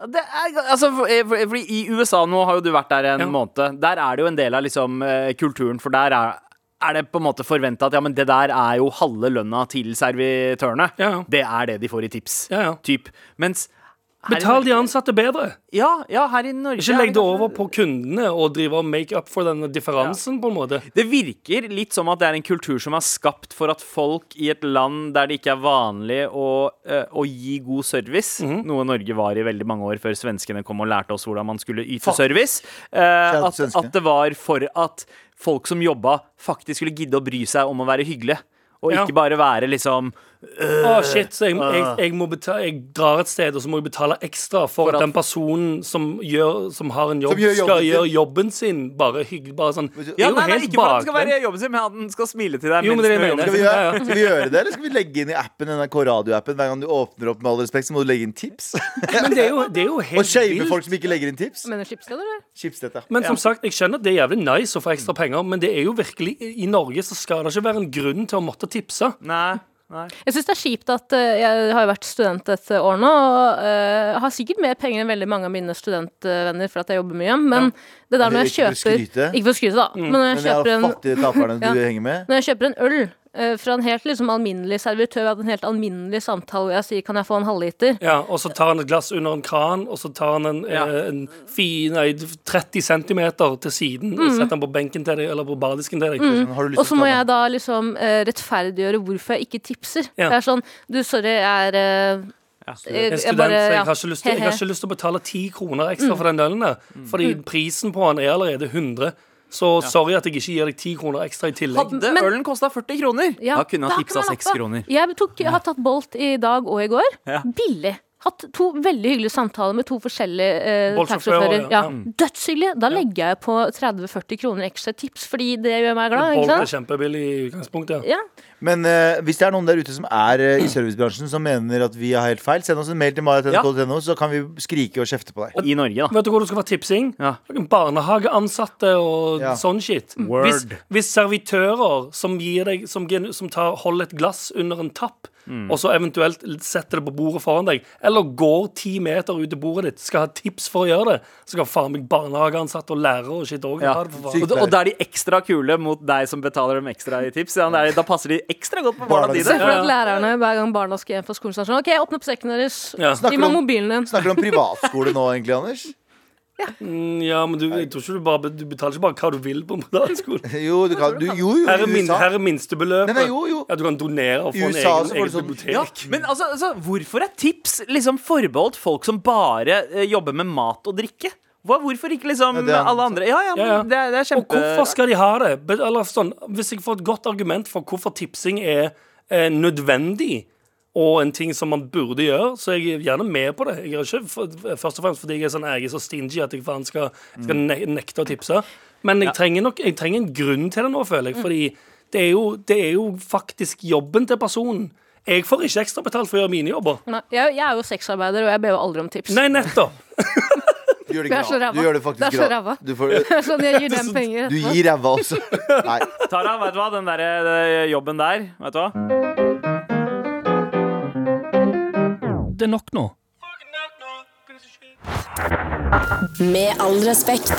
D: Det er, altså, for, for, fordi I USA nå har jo du vært der en
C: Ja.
D: måned. Der er det jo en del av liksom, eh, kulturen, for der er, er det på en måte forventa at ja, men det der er jo halve lønna til servitørene.
C: Ja, ja.
D: Det er det de får i tips.
C: Ja, ja.
D: Typ. Mens her i
C: Betal de
D: Norge-
C: ansatte bedre.
D: Ja, ja, her i Norge
C: Ikke
D: er
C: legg det
D: kanskje-
C: over på kundene og drive og make up for denne differansen, på en måte.
D: Det virker litt som at det er en kultur som er skapt for at folk i et land der det ikke er vanlig å, eh, å gi god service, noe Norge var i veldig mange år før svenskene kom og lærte oss hvordan man skulle yte service, eh,
B: til
D: at,
B: svenskene.
D: at det var for at folk som jobba, faktisk skulle gidde å bry seg om å være hyggelige. Og
C: Ja.
D: ikke bare være liksom
C: Å, shit, så jeg, jeg, jeg, må betale, jeg drar et sted, og så må jeg betale ekstra for,
D: Ah. For at-
C: at den personen som, gjør, som har en jobb,
B: Som gjør jobben
C: skal
B: sin.
C: gjøre jobben sin. Bare hyggelig, bare sånn. Det
D: ja,
C: er jo
D: nei, nei,
C: helt
D: Ikke for at det skal
C: bakvendt.
D: være jobben sin, men at den skal smile til deg.
C: Jo, men
D: mens
C: det
D: du
C: mener
D: jobber.
B: Skal vi,
C: Ja, ja.
B: gjøre, skal vi gjøre det, eller skal vi legge inn i appen NRK radioappen hver gang du åpner opp med all respekt, så må du legge inn tips?
C: Men det er jo, det er jo
B: og
C: helt
B: shame
C: vilt.
B: folk som ikke legger inn tips?
E: Mener skipsstedet, eller?
B: Chipstøtte.
C: Men som sagt, jeg skjønner at det er jævlig nice å få ekstra penger, men det er jo virkelig I Norge så skal det ikke være en grunn til å måtte tipse.
D: Nei, nei.
E: Jeg syns det er kjipt at eh, jeg har jo vært student et år nå, og eh, har sikkert mer penger enn veldig mange av mine studentvenner for at jeg jobber mye, men det der
B: Men
E: når jeg
B: det er
E: kjøper
B: ikke for å skryte. Mm.
E: Ikke for å skryte, da. Men når
B: Men
E: jeg,
B: jeg har
E: kjøper en,
B: fattige taperne
E: Ja.
B: du henger med.
E: når jeg kjøper en øl eh, fra en helt liksom, alminnelig servitør, vi hadde en helt alminnelig samtale hvor jeg sier 'kan jeg få en halvliter',
C: Ja, og så tar han et glass under en kran, og så tar han en,
D: Ja.
C: eh, en fi, nei, 30 cm til siden
E: Mm.
C: og setter den på benken til deg, eller på bardisken til deg.
B: Sånn, Har du
E: Og
B: lyst
E: så
B: til å
E: må
B: ta den?
E: jeg da liksom eh, rettferdiggjøre hvorfor jeg ikke tipser.
C: Ja.
E: Det er sånn Du, sorry, jeg er eh,
C: Jeg er
E: jeg
C: student,
E: bare-
C: så jeg
E: ja. Mm.
C: har, ikke lyst til, jeg har ikke lyst til å betale 10 kroner ekstra for den ølen der. Fordi prisen på den er allerede 100. Så sorry at jeg ikke gir deg 10 kroner ekstra i tillegg.
D: Hadde
E: Men-
D: ølen kosta 40 kroner,
E: Ja,
D: da kunne
E: da
D: han
E: kan
D: tipsa
E: man
D: 6
E: lappe.
D: kroner.
E: Jeg tok, jeg har tatt Bolt i dag og i går.
D: Ja.
E: Billig. Hatt to veldig hyggelige samtaler med to forskjellige eh,
C: Bolt-sjåfører,
E: taxisjåfører.
C: ja.
E: Ja. Dødshyggelige. Da legger jeg på 30-40 kroner ekstra tips, fordi det gjør meg glad.
C: Bolt
E: Ikke
C: er
E: sant?
C: kjempebillig i utgangspunktet.
E: Ja.
B: Men eh, hvis det er noen der ute som er eh, i servicebransjen som mener at vi har helt feil, send oss en mail til maratnrk.no, så kan vi skrike og kjefte på deg.
D: I Norge, da.
C: Vet du hvor du skal få tipsing?
D: Ja.
C: Barnehageansatte og
B: Ja.
C: sånn shit.
D: Mm. Word.
C: Hvis, hvis servitører som, gir deg, som, gen- som tar, holder et glass under en tapp,
D: Mm.
C: og så eventuelt setter det på bordet foran deg, eller går ti meter ut til bordet ditt, skal ha tips for å gjøre det, så skal faen meg barnehageansatte og lærere og shit òg
D: Ja.
C: ha det. for
B: Sykt.
C: faen.
D: Og, da- og da er de ekstra kule mot deg som betaler dem ekstra i tips. Ja, da er de- da passer de ekstra godt på barna
B: Barna
E: Se
D: dine.
E: for deg at lærerne hver gang barna skal hjem fra skolen, så er det sånn OK, åpne opp sekken deres.
C: Ja.
E: Gi
B: Snakker
E: meg
B: om-
E: mobilen din.
B: Snakker du om privatskole nå, egentlig, Anders?
C: Mm, ja, men du, jeg tror ikke du, bare, du betaler ikke bare hva du vil på en privatskole.
B: Jo, du kan du, Jo, jo,
C: Her er,
B: i
C: min,
B: USA.
C: her er minstebeløpet.
B: Nei, nei, jo, jo.
C: Ja, du kan donere og
B: I
C: få en
B: USA
C: egen,
B: så får
C: egen
B: du sånn-
C: bibliotek.
D: Ja, men altså, altså, hvorfor er tips liksom forbeholdt folk som bare eh, jobber med mat og drikke? Hva, hvorfor ikke liksom
B: Ja, det er-
D: alle andre? Ja, ja, men
C: Ja, ja.
D: Det, er- det er
C: Og
D: kjempe...
C: hvorfor skal de ha det? Be- Eller sånn, hvis jeg får et godt argument for hvorfor tipsing er eh, nødvendig og en ting som man burde gjøre, så er jeg gjerne med på det. Jeg er ikke for, først og fremst fordi jeg er, sånn, jeg er så stingy at jeg faen skal, skal ne nekte å tipse. Men jeg trenger nok jeg trenger en grunn til det nå, føler
D: Mm.
C: jeg. Fordi det er jo, det er jo faktisk jobben til personen. Jeg får ikke ekstrabetalt for å gjøre mine jobber.
E: Nei, jeg, jeg er jo sexarbeider, og jeg ber jo aldri om tips.
C: Nei, nettopp.
B: Du gjør det,
E: Det er
B: gra-
E: så ræva.
B: Du gjør det
E: Det
B: faktisk
E: er så ræva.
B: gratis. Du, får-
E: Sånn, jeg gir dem penger
B: du
E: etterpå.
B: gir ræva også. Nei.
D: Tara, vet du hva? Den der eh, jobben der, vet du hva?
C: Det er nok nå.
A: Med all respekt.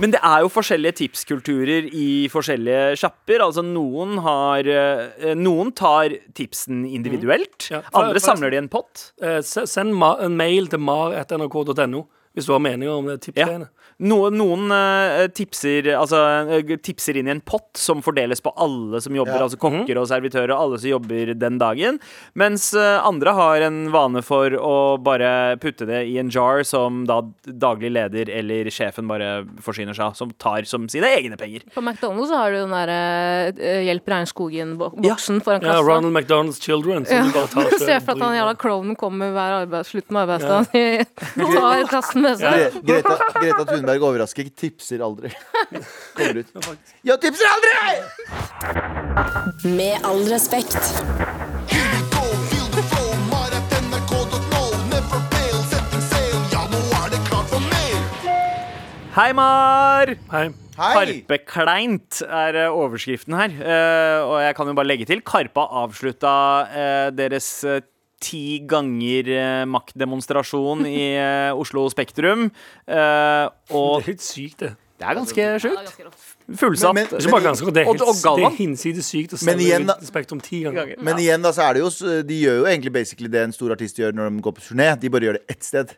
D: Men det er jo forskjellige tipskulturer i forskjellige sjapper. Altså, noen har eh, Noen tar tipsen individuelt.
C: Mm. Ja, for-
D: Andre
C: forresten-
D: samler de i en pott.
C: Eh, se- send ma en mail til mar.nrk.no hvis du har meninger om det
D: Ja.
C: tipsgreiene.
D: Noen, noen eh, tipser, altså, eh, tipser inn i en pott som fordeles på alle som jobber,
B: Ja.
D: altså kokker og servitører og alle som jobber den dagen. Mens eh, andre har en vane for å bare putte det i en jar som da daglig leder eller sjefen bare forsyner seg av, som tar som sine egne penger.
E: På McDonald's så har du den der eh, Hjelp regnskogen-boksen foran
C: Ja,
E: kassa.
C: Ronald McDonald's Children. Som du bare tar
E: Se
C: selv
E: for at han jævla klovnen kommer hver arbeids, slutten av arbeidsdagen. og Tar kassen med seg.
B: Gre- Greta, Greta Thunberg overrasker ikke. Tipser aldri. Kommer ut. Ja, tipser aldri!
A: Med all respekt.
F: Go, feel the flow, mar at nrk.no. Never fail, setting sail. Ja, nå er det klart for mer.
D: Hei, Mar!
C: Hei.
B: Hei!
D: Karpekleint er eh, overskriften her. Eh, og jeg kan jo bare legge til Karpa avslutta eh, deres eh, ti ganger eh, maktdemonstrasjon i eh, Oslo Spektrum. Eh,
C: Det
D: og
C: er helt sykt, det.
D: det er ganske sjukt.
B: Men-
D: Fullsatt.
B: men-
C: Det er ikke bare ganske godt, det er,
D: Og- og
C: helt, det
D: Galvan?
C: er hinsides sykt å
B: Men
C: sende
B: igjen da-
C: ut Spektrum ti ganger.
B: Men igjen, da, så er det jo s- De gjør jo egentlig basically det en stor artist gjør når de går på turné. De bare gjør det ett sted.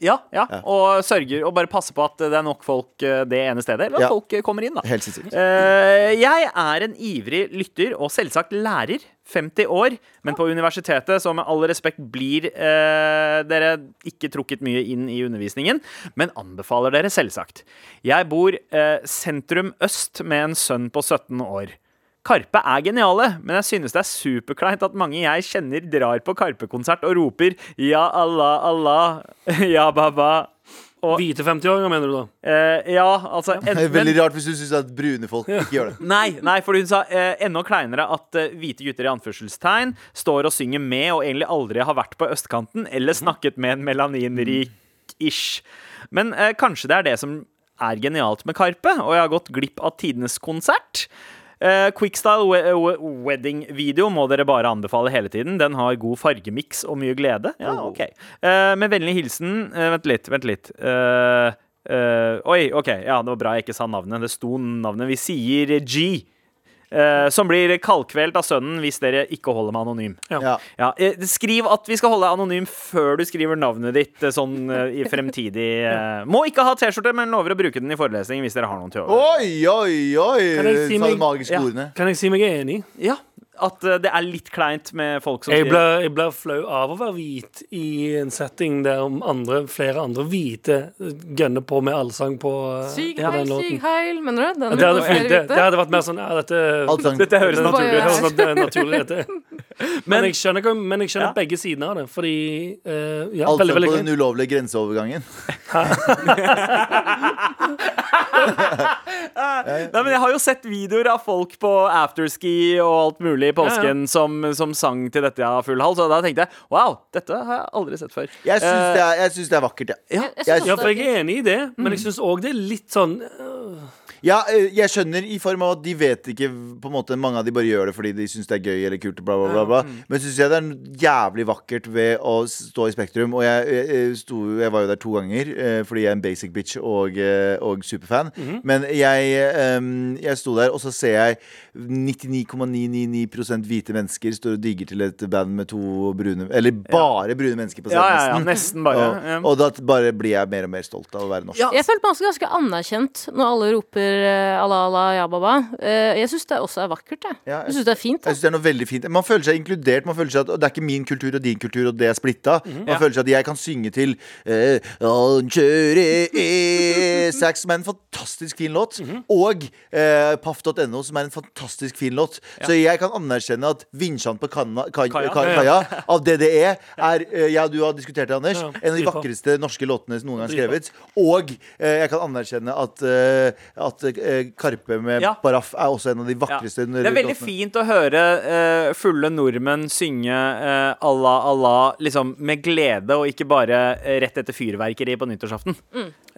D: Ja, ja. Og sørger og bare passer på at det er nok folk eh, det ene stedet. Eller at
B: Ja.
D: folk eh, kommer inn, da.
B: Helt sinnssykt.
D: Eh, jeg er en ivrig lytter og selvsagt lærer. 50 år, men på universitetet, så med all respekt, blir eh, dere ikke trukket mye inn i undervisningen, men anbefaler dere selvsagt. Jeg bor eh, sentrum øst med en sønn på 17 år. Karpe er geniale, men jeg synes det er superkleint at mange jeg kjenner drar på Karpe-konsert og roper 'Ja Allah, Allah', 'Ja Baba'. Og,
C: Hvite 50-åringer, mener du da?
D: eh, ja, altså
B: Det er
D: enten-
B: veldig rart hvis du syns at brune folk ikke gjør det.
D: Nei, nei, for hun sa eh, enda kleinere at eh, hvite gutter i anførselstegn står og synger med og egentlig aldri har vært på østkanten eller snakket med en melaninrik-ish. Men eh, kanskje det er det som er genialt med Karpe, og jeg har gått glipp av tidenes konsert. Eh, Quickstyle we we wedding-video må dere bare anbefale hele tiden. Den har god fargemiks og mye glede. Ja, ok Eh, Med vennlig hilsen eh, Vent litt, vent litt. Eh, eh, oi, OK. Ja, det var bra jeg ikke sa navnet. Det sto navnet. Vi sier G. eh, som blir kaldkvelt av sønnen hvis dere ikke holder meg anonym.
B: Ja.
D: Ja, eh, Skriv at vi skal holde deg anonym før du skriver navnet ditt. eh, Sånn eh, i fremtidig eh. Må ikke ha T-skjorte, men lover å bruke den i forelesning hvis dere har noen til over.
B: Oi, oi, oi!
C: Kan jeg si
B: Sa de
C: meg-
B: magiske
D: Ja.
B: ordene.
C: Kan jeg si meg enig?
D: Ja, at eh, det er litt kleint med folk som
C: Jeg
D: skriver-
C: blir, jeg blir flau av å være hvit i en setting der om andre, flere andre hvite eh, gønner på med allsang på, eh,
E: Syg
C: på
E: heil,
C: den
E: syg
C: låten.
E: heil, mener du? Den
C: Det hadde,
E: er
C: fun- det,
E: ute.
C: det hadde vært mer sånn ja, dette,
B: Alt sang.
D: Dette høres
C: det er naturlig,
D: naturlig ut.
C: det høres nat- det er naturlig dette. Men jeg skjønner, hva- men jeg skjønner
D: Ja.
C: begge sidene av det, fordi eh, ja,
B: Alt sang
C: veldig, veldig
B: på
C: gøy.
B: den ulovlige grenseovergangen.
D: Nei, men Jeg har jo sett videoer av folk på afterski og alt mulig i påsken som, som sang til dette av full hals, og da tenkte jeg wow, dette har jeg aldri sett før.
B: Jeg syns
D: Eh,
B: det, er- jeg syns det er vakkert, jeg.
E: Jeg- jeg synes
B: Ja,
C: Ja,
E: også
C: for
E: det er
C: jeg er enig i det, men jeg syns òg det er litt sånn øh,
B: Ja, eh, jeg skjønner i form av at de vet ikke på en måte, Mange av de bare gjør det fordi de syns det er gøy eller kult. Bla, bla, bla, bla.
D: mm.
B: Men syns jeg det er noe jævlig vakkert ved å stå i Spektrum. Og jeg, jeg, jeg sto, jeg var jo der to ganger eh, fordi jeg er en basic bitch og, eh, og superfan.
D: Mhm.
B: Men jeg, eh, jeg sto der, og så ser jeg 99,999 hvite mennesker står og digger til et band med to brune Eller bare brune mennesker på scenen.
D: Ja, ja, ja, nesten bare.
B: Og, og da bare blir jeg mer og mer stolt av å være norsk.
D: Ja.
E: Jeg følte meg også ganske anerkjent når alle roper eh, Allah, Allah, ja, baba. Eh, Jeg syns det også er vakkert, jeg.
B: Ja,
E: Jeg syns det er fint.
B: Jeg
E: Jeg.
B: synes det er noe veldig fint Man føler seg inkludert. Man føler seg at Det er ikke min kultur og din kultur, og det er splitta.
D: Mhm.
B: Man føler seg at jeg kan synge til eh, «Han kjører E6, som er en fantastisk fin låt,
D: Mhm.
B: og eh, paff.no, som er en fantastisk fin låt. Så jeg kan anerkjenne at Vinsjan på kanna, kan,
D: Kaja.
B: Ka- Kaja av DDE er eh, Ja, du har diskutert det, Anders.
C: Ja,
B: En av de
C: dritbra.
B: vakreste norske låtene som noen gang er
C: Dritbra.
B: skrevet. Og eh, jeg kan anerkjenne at, eh, at eh, Karpe med
D: Ja.
B: Paraf er også en av de
D: Ja.
B: vakreste
D: Det er veldig fint å høre eh, fulle nordmenn synge eh, Allah, Allah liksom med glede, og ikke bare eh, rett etter fyrverkeri på nyttårsaften.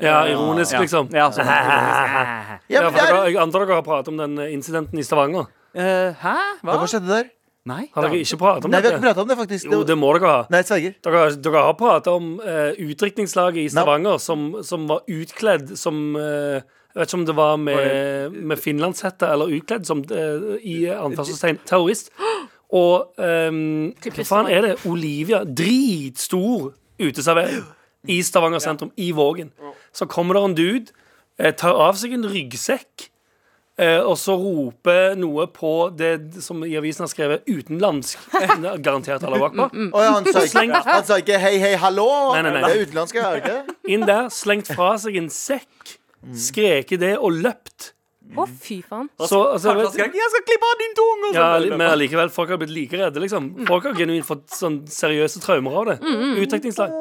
C: Ja, ironisk,
D: Ja.
C: liksom.
D: Ja, sånn.
B: Ja,
C: Ja,
B: men
C: for
B: det er
C: dere, jeg antar dere har pratet om den eh, incidenten i Stavanger.
D: Eh, hæ? Hva?
B: Ja, Hva skjedde der?
D: Nei.
C: Har dere ikke pratet om
B: Nei, vi har ikke
C: dette?
B: prata om det, faktisk.
C: Jo, det må dere ha.
B: Nei, sverger.
C: Dere, dere har pratet om eh, utdrikningslaget i Stavanger som, som var utkledd som eh, Jeg vet ikke om det var med, med finlandshette eller utkledd som eh, i anførselstegn terrorist. Og ehm, hva faen er det? Olivia. Dritstor uteservering i Stavanger sentrum, i Vågen. Så kommer det en dude, eh, tar av seg en ryggsekk. Eh, og så roper noe på det som i avisen har skrevet 'utenlandsk'. Garantert alle bak på.
B: Å ja, han sa ikke,
C: Sleng-
B: han sa ikke 'hei, hei, hallo'.
C: Nei, nei, nei.
B: Det er utenlandsk, er det ikke?
C: inn der, slengt fra seg en sekk, skreket det og løpt.
E: Å, fy faen.
C: Så, altså,
D: Kanskje
C: jeg
D: han skrev,
C: vet,
D: Jeg skal klippe av din tunge! og
C: ja,
D: sånn.
C: men allikevel, folk har blitt like redde, liksom. Folk har genuint fått sånn seriøse traumer av det. Utdrikningslag.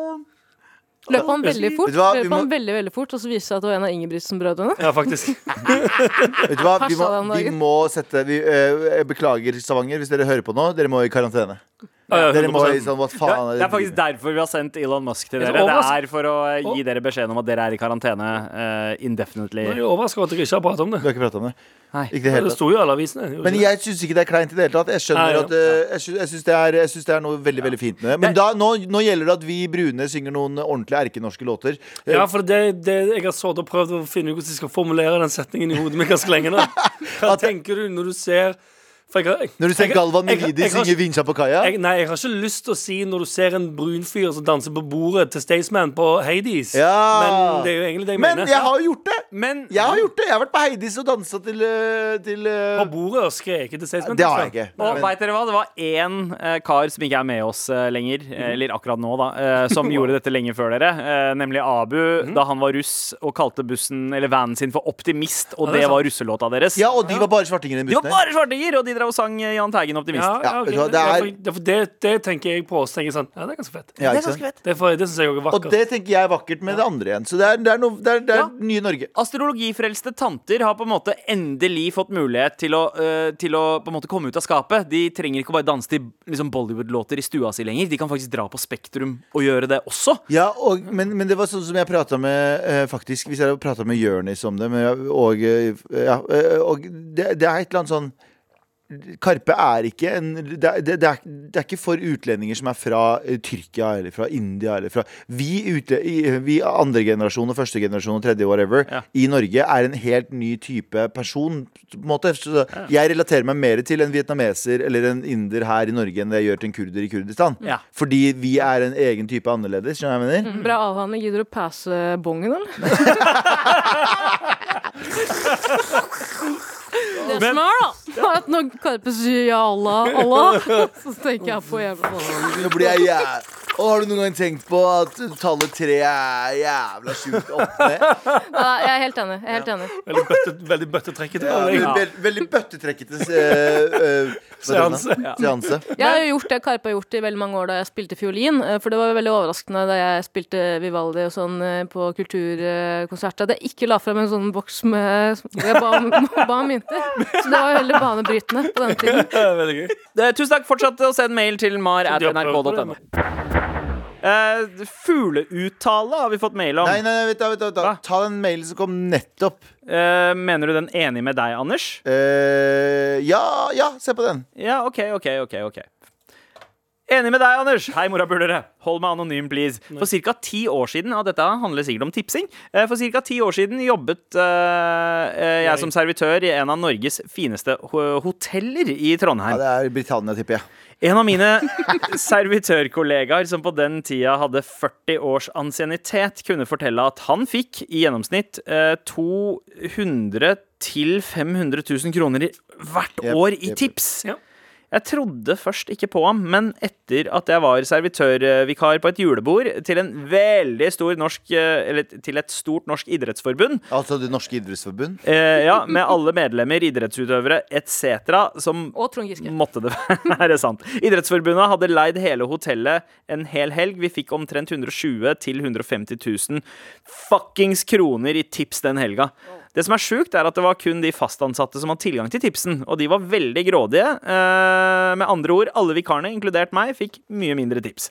E: Løp han veldig fort,
B: Vet du hva, vi
E: løp han
B: må-
E: veldig, veldig fort og så viste det seg at det var en av Ingebrigtsen-brødrene.
C: Ja, faktisk.
B: Vet du hva, vi må,
E: Passet den
B: vi
E: dagen.
B: må sette vi, eh, Jeg beklager, Stavanger, hvis dere hører på nå. Dere må i karantene.
C: Ja,
B: Dere må i
C: 100%.
B: sånn Hva
D: Det
B: faen
D: er- det er faktisk derfor vi har sendt Elon Musk til
C: Jeg er
D: dere. Det
C: overrasket-
D: er for å eh, gi dere beskjeden om at dere er i karantene eh, indefinitely.
C: Jeg er overrasket over at dere ikke har pratet om
B: Du
C: det.
B: har ikke prata om det?
D: Nei.
B: Ikke det hele
C: Det
B: tatt.
C: sto jo i alle avisene. gjorde
B: Men
C: ikke det?
B: jeg syns ikke det er kleint i det hele tatt. Jeg skjønner
C: Nei,
B: at eh, Jeg, syns, jeg, syns det er, jeg syns det er noe veldig veldig fint med det. Men da, nå, nå gjelder det at vi brune synger noen ordentlig erkenorske låter. Eh,
C: ja, for det, det, jeg har sådd og prøvd å finne ut hvordan jeg skal formulere den setningen i hodet mitt ganske lenge nå. Hva tenker du når du ser for jeg har- jeg-
B: Når du ser
C: jeg-
B: Galvan
C: jeg- jeg
B: Mehidi
C: har-
B: synge 'Vinsja på kaia'
C: jeg, Nei, jeg har ikke lyst til å si når du ser en brun fyr som danser på bordet til Staysman på Hades.
B: Ja.
C: Men det er jo egentlig det jeg
B: Men
C: mener.
B: jeg har jo gjort det!
D: Men
B: Jeg har gjort det! Jeg har vært på Heidis og dansa til, eh, til eh,
C: på bordet og skreket til Staysman. altså.
B: Det har jeg ikke.
D: Og
B: Men-
D: vet dere hva? Det var én eh, kar som ikke er med oss eh, lenger, eh, eller akkurat nå, da, eh, som gjorde dette lenge før dere, eh, nemlig Abu, da han var russ og kalte bussen, eller vanen sin for Optimist, og
C: Ja, det er
D: det
C: sant.
D: var russelåta deres.
B: Ja, og de var bare svartinger i den
D: De var
B: bussen. her.
D: bare svartinger, og de drev og sang eh, Jahn Teigen Optimist.
C: Ja, ja,
B: Ja,
C: ok.
B: vet du hva, det
C: det,
B: er-
C: er... for- for det, det tenker jeg på. Så tenker jeg sånn Ja, det er ganske fett.
B: Ja, ikke sant?
C: Det, er for- det syns jeg også er
B: Og
C: vakkert.
B: det tenker jeg er vakkert med det andre igjen. Så det er, det er, noe, det er, det er
D: Ja.
B: nye Norge.
D: Astrologifrelste tanter har på en måte endelig fått mulighet til å, eh, til å på en måte komme ut av skapet. De trenger ikke bare danse til liksom Bollywood-låter i stua si lenger. De kan faktisk dra på Spektrum og gjøre det også.
B: Ja, og, men, men det var sånn som jeg prata med eh, Faktisk, hvis jeg hadde prata med Jørnis om det men, jeg- Og, eh, ja, eh, og det, det er et eller annet sånn Karpe er ikke en det, er- det, det, er, det er ikke for utlendinger som er fra eh, Tyrkia eller fra India eller fra Vi, ute, i- vi andre generasjon og første generasjon og tredje whatever
D: Ja.
B: i Norge er en helt ny type person. På en måte. Så jeg relaterer meg mer til en vietnameser eller en inder her i Norge enn det jeg gjør til en kurder i Kurdistan.
D: Ja. Mm.
B: Fordi vi er en egen type annerledes. Skjønner du hva jeg mener?
E: Bra avhandling. Gidder du å passe bongen, eller? Det som er, da, er at når Karpe sier ja, Allah, Allah, så tenker jeg på jævla faen.
B: Nå blir jeg jæv... Og har du noen gang tenkt på at tallet tre er jævla sjukt opp ned?
E: Ja, Jeg er helt enig. Jeg er helt enig.
C: Veldig, bøtte, veldig bøttetrekket.
B: Ja,
C: av deg.
B: veldig, veldig bøttetrekkete eh, eh, hva
C: Seanse.
B: heter det? Seanse.
E: Jeg har jo gjort det Karpe har gjort i veldig mange år da jeg spilte fiolin. eh, For det var jo veldig overraskende da jeg spilte Vivaldi og sånn eh, på kulturkonsert. At jeg ikke la frem en sånn boks med Jeg ba om, ba om mynter. Så det var jo veldig banebrytende på den tiden.
C: Ja, veldig gøy.
D: Eh, Tusen takk. Fortsett å sende mail til mar at
C: De har prøvd på
D: nrk.no.
C: det,
D: Eh, fugleuttale har vi fått mail om.
B: Nei, nei, nei, vent, da, vent, da, vent, da.
D: Hva?
B: Ta den mailen som kom nettopp.
D: Eh, mener du den enig med deg, Anders?
B: Eh, ja, ja, se på den.
D: Ja, OK, OK, OK. ok Enig med deg, Anders. Hei, morapulere. Hold meg anonym, please. For ca. ti år siden, og dette handler sikkert om tipsing eh, For ca. ti år siden jobbet eh, eh, jeg som servitør i en av Norges fineste ho- hoteller i Trondheim.
B: Ja, det er Britannia, tipper jeg.
D: En av mine servitørkollegaer som på den tida hadde 40 års ansiennitet, kunne fortelle at han fikk i gjennomsnitt eh, 200 til 500 000 kroner i, hvert
B: Jep,
D: år i
B: jep.
D: tips.
C: Ja.
D: Jeg trodde først ikke på ham, men etter at jeg var servitørvikar på et julebord til, en veldig stor norsk, eh, eller til et stort norsk idrettsforbund,
B: Altså Det norske idrettsforbund.
D: eh, ja, med alle medlemmer, idrettsutøvere etc., som
E: Og Trond Giske.
D: Måtte det være sant. Idrettsforbundet hadde leid hele hotellet en hel helg. Vi fikk omtrent 120 000-150 000 fuckings kroner i tips den helga. Det som er sjukt, er at det var kun de fastansatte som hadde tilgang til tipsen, og de var veldig grådige. Eh, med andre ord, alle vikarene, inkludert meg, fikk mye mindre tips.